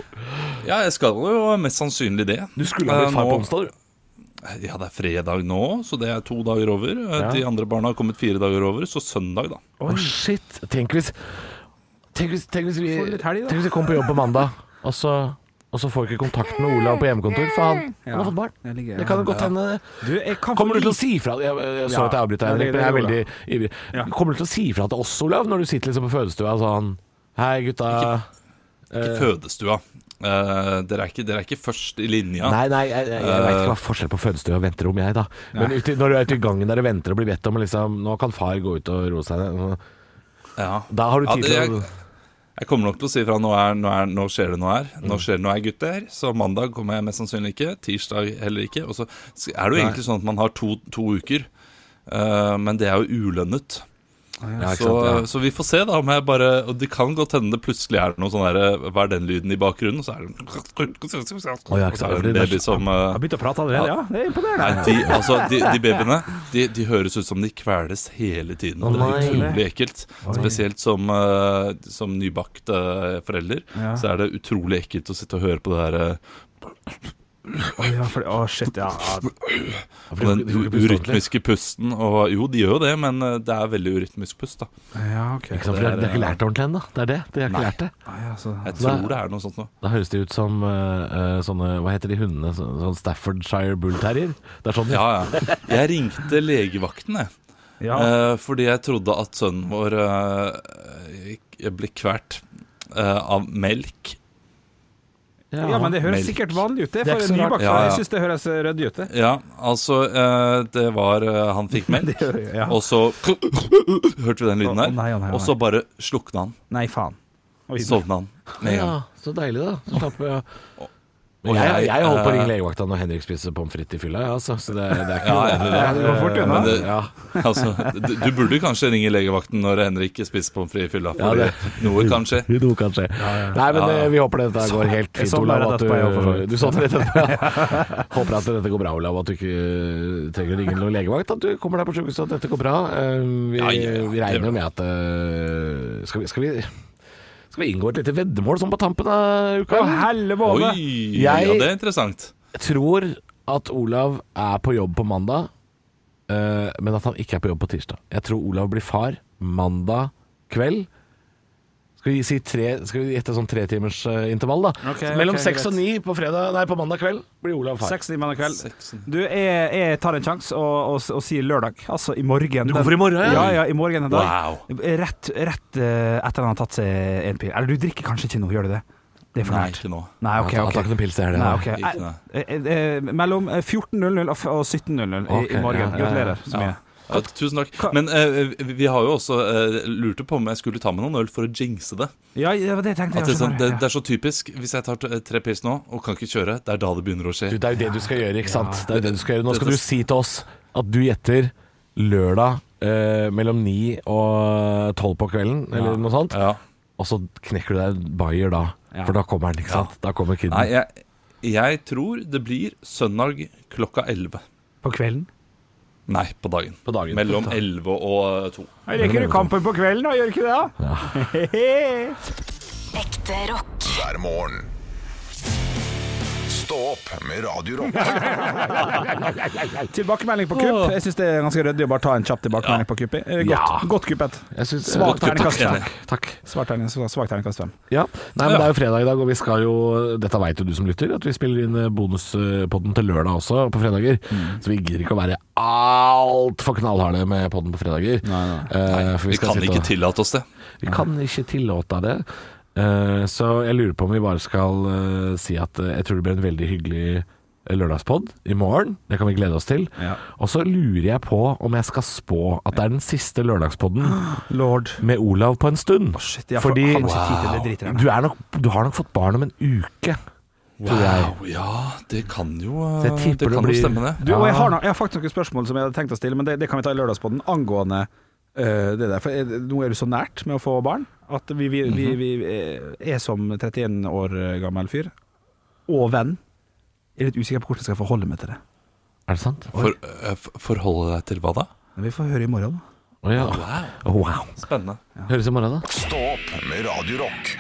D: Ja, jeg skal jo mest sannsynlig det.
C: Du skulle ha
D: Eh,
C: blitt far på
D: nå-
C: onsdag, du.
D: Ja, det er fredag nå, så det er to dager over. Eh, De andre barna har kommet fire dager over, så søndag, da.
C: Å, shit. Tenk hvis Tenk hvis, tenk hvis vi
E: Får litt helg, da.
C: Tenk hvis vi kommer på jobb på mandag, og så, og så får vi ikke kontakt med Olav på hjemmekontor, for han, han har fått barn.
E: Det ligger-
C: Det kan jo godt hende
E: Du, jeg kan
C: Kommer du til å
E: si
C: si fra Jeg, jeg så
E: Ja.
C: at jeg avbryter
E: Ja,
C: deg,
E: det-
C: Henrik, men jeg er
E: det
C: veldig
E: gjorde
C: ivrig.
E: Ja.
C: Kommer du til å si fra til oss, Olav, når du sitter liksom på fødestua sånn Hei, gutta.
D: Ikke fødestua. Eh, dere, er ikke, dere er ikke først i linja.
C: Nei, nei, jeg, jeg, jeg veit ikke hva forskjell på fødestue og venterom jeg, da. Men ute, når du er ute i gangen der og venter og blir bedt om liksom Nå kan far gå ut og roe seg ned.
D: Ja.
C: Da har du
D: Ja,
C: tid
D: det-
C: til å
D: jeg, jeg kommer nok til å si fra nå, er, nå, er, nå skjer det noe her.
C: Mm.
D: Nå skjer det noe her, gutter. Så mandag kommer jeg mest sannsynlig ikke. Tirsdag heller ikke. Og så er det jo egentlig sånn at man har to, to uker. eh, men det er jo ulønnet.
C: ja, ikke
D: Så,
C: sant, ja.
D: så vi får se, da. Om jeg bare, og det kan godt hende det plutselig er noe sånn derre Hva er den lyden i bakgrunnen? Så er det
C: ja, ikke sant.
D: Og så er det en baby som eh,
E: Har begynt å prate allerede, ja? Det er imponerende.
D: Nei, de, altså, de, de babyene de, de høres ut som de kveles hele tiden. Og det er utrolig ekkelt. Spesielt som, eh, som nybakt eh, forelder så er det utrolig ekkelt å sitte og høre på det her eh,
E: Å, ja, for, å shit, ja. ja.
D: og den u- urytmiske pusten. Og jo, de gjør jo det, men eh, det er veldig urytmisk pust, da.
E: ja ok.
C: Ikke sant, for de har- de har ikke lært det ordentlig ennå. Det er det. De har ikke lært det.
E: Nei, altså.
D: Jeg tror det er noe sånt noe.
C: Da høres de ut som eh, eh, sånne Hva heter de hundene? Så, sånn Staffordshire Bull-terrier. Det er sånn
D: Ja, ja. Jeg ringte legevakten, jeg.
E: Ja.
D: Eh, fordi jeg trodde at sønnen vår eh, eh, ble kvert eh, av melk.
E: ja, men det høres
D: melk.
E: sikkert vanlig ut, det.
C: Det er
E: For
C: ikke så
E: en
C: rart.
E: nybakt
D: Ja,
E: far.
D: ja.
E: Jeg syns det høres ryddig ut, det.
D: Ja, altså eh, Det var eh, Han fikk melk,
E: ja.
D: og så hørte vi den lyden
E: Å, å nei, å nei,
D: der. Og
E: å
D: så bare slukna han.
E: Nei, faen. Oi,
D: Sovna han med en gang.
C: Ja, så deilig, da. Så slapp ja.
D: Og
C: jeg, jeg holdt på å
D: eh,
C: ringe legevakta når Henrik spiser pommes frites i fylla, ja, altså, så det, det er ikke
D: Ja, ja,
E: Ja, det går fort unna.
D: Men det-
C: Ja.
D: altså, du, du burde kanskje ringe legevakten når Henrik spiser pommes frites i fylla,
C: Ja,
D: for
C: det-
D: noe kan skje.
C: Noe kan skje. Nei, men
D: Ja, ja.
C: eh, vi håper dette går helt
E: jeg
C: fint,
E: sovna
C: Olav.
E: rett
C: At
E: etterpå, jeg, for så
C: du,
E: vidt.
C: du sovner rett etterpå. ja. Håper at dette går bra, Olav. At du ikke eh, trenger å ringe noen legevakt. At du kommer deg på sjukehuset, at dette går bra. Eh, Vi,
D: Ja, ja, ja,
C: vi
D: det
C: regner
D: gjør
C: jo med at eh, Skal vi, skal vi skal vi inngå et lite veddemål sånn på tampen av
E: Å,
C: uka? eller?
E: helle
D: Oi,
E: måne!
D: ja,
C: Jeg-
D: det er interessant.
C: tror at Olav er på jobb på mandag, eh, men at han ikke er på jobb på tirsdag. Jeg tror Olav blir far mandag kveld. Skal vi, si tre, skal vi gjette sånn tretimers eh, intervall, da?
E: Ok,
C: Så Mellom
E: ok,
C: seks
E: greit.
C: og ni på, fredag, nei, på mandag kveld blir Olav far.
E: Seks timer i kveld.
D: Sexen.
E: Du, jeg, jeg tar en sjanse og, og, og sier lørdag. Altså i morgen.
C: Du går for i morgen, ja?
E: ja? Ja, i morgen en dag.
D: Wow.
E: Rett, rett eh, etter han har tatt seg en pil. Eller du drikker kanskje ikke nå, gjør du det? Det er for
D: Nei,
E: nært.
D: ikke nå.
E: Nei, ok,
C: Han tar- han tar
E: ok.
C: ikke noen pils til helga.
E: Nei,
C: da.
E: ok.
D: Ikke nå.
E: Eh, eh, eh, Mellom eh, 14.00 og f- og 17.00 i,
C: Ok,
E: i
C: ja,
E: morgen.
C: ja, ja.
E: Gratulerer så mye.
D: Ja, tusen takk. Men eh, vi- vi har jo også eh, lurte på om jeg skulle ta med noen øl for å jinxe det.
E: Ja, det var det jeg tenkte.
D: At det, er sånn,
E: jeg skjønner,
D: det,
E: ja.
D: det er så typisk. Hvis jeg tar t- tre pils nå og kan ikke kjøre, det er da det begynner å skje.
C: Du, det er jo det du skal gjøre, ikke sant? Det er jo det du skal gjøre. Nå skal
D: Dette-
C: du si til oss at du gjetter lørdag eh, mellom ni og tolv på kvelden, eller noe sånt.
D: Ja.
C: Og så knekker du deg en bayer da, for da kommer han, ikke sant? Da kommer kiden.
D: Nei, jeg, jeg tror det blir søndag klokka 11.
E: På kvelden?
D: Nei, på dagen. Mellom 11 og 2.
E: Rekker du kampen på kvelden, da? Gjør du ikke det? da?
B: Ekte rock.
A: hver morgen. Stå opp med Radio Rock.
E: Tilbakemelding på kupp. Jeg syns det er ganske ryddig å bare ta en kjapp tilbakemelding på kuppet. Eh, Godt,
C: Ja.
E: godt kuppet.
C: synes-
E: Svak
C: Godt kupp,
E: terningkast
C: takk.
E: fem.
C: Takk.
E: Svak terning- svak terningkast fem.
C: Ja. Nei, men Det er jo fredag i dag, og vi skal jo Dette veit jo du som lytter, at vi spiller inn eh, bonuspodden til lørdag også, på fredager.
D: Mm.
C: Så vi gidder ikke å være altfor knallharde med podden på fredager. Eh, for
D: Vi
C: skal
D: kan
C: sitte
D: ikke
C: og-
D: tillate oss det.
C: Vi kan ikke tillate det. Eh, så jeg lurer på om vi bare skal eh, si at eh, jeg tror det blir en veldig hyggelig lørdagspod i morgen. Det kan vi glede oss til. Og så lurer jeg på om jeg skal spå at det er den siste lørdagspodden
E: Lord.
C: med Olav på en stund.
E: ja, for
C: Fordi
E: han har ikke tid til det dritet der.
C: du, er nok, du har nok fått barn om en uke, tror jeg.
D: Wow, ja, det kan jo
C: Så jeg
D: eh,
C: tipper
D: Det
C: det
D: kan jo
C: blir-
D: stemme, det.
E: Du, og jeg, har, no- jeg har faktisk noen spørsmål som jeg hadde tenkt å stille, men det, det kan vi ta i lørdagspodden angående eh, det der. For eh, nå er du så nært med å få barn at vi, vi, vi, vi eh, er som 31 år gammel fyr og venn. Jeg er litt usikker på hvordan jeg skal forholde meg til det.
C: Er det sant?
D: For, eh, f- forholde deg til hva da?
E: Men vi får høre i morgen, da.
C: Å ja.
D: Wow.
C: Wow.
D: Spennende.
C: Høres i morgen, da.
A: Stå opp med Radio Rock.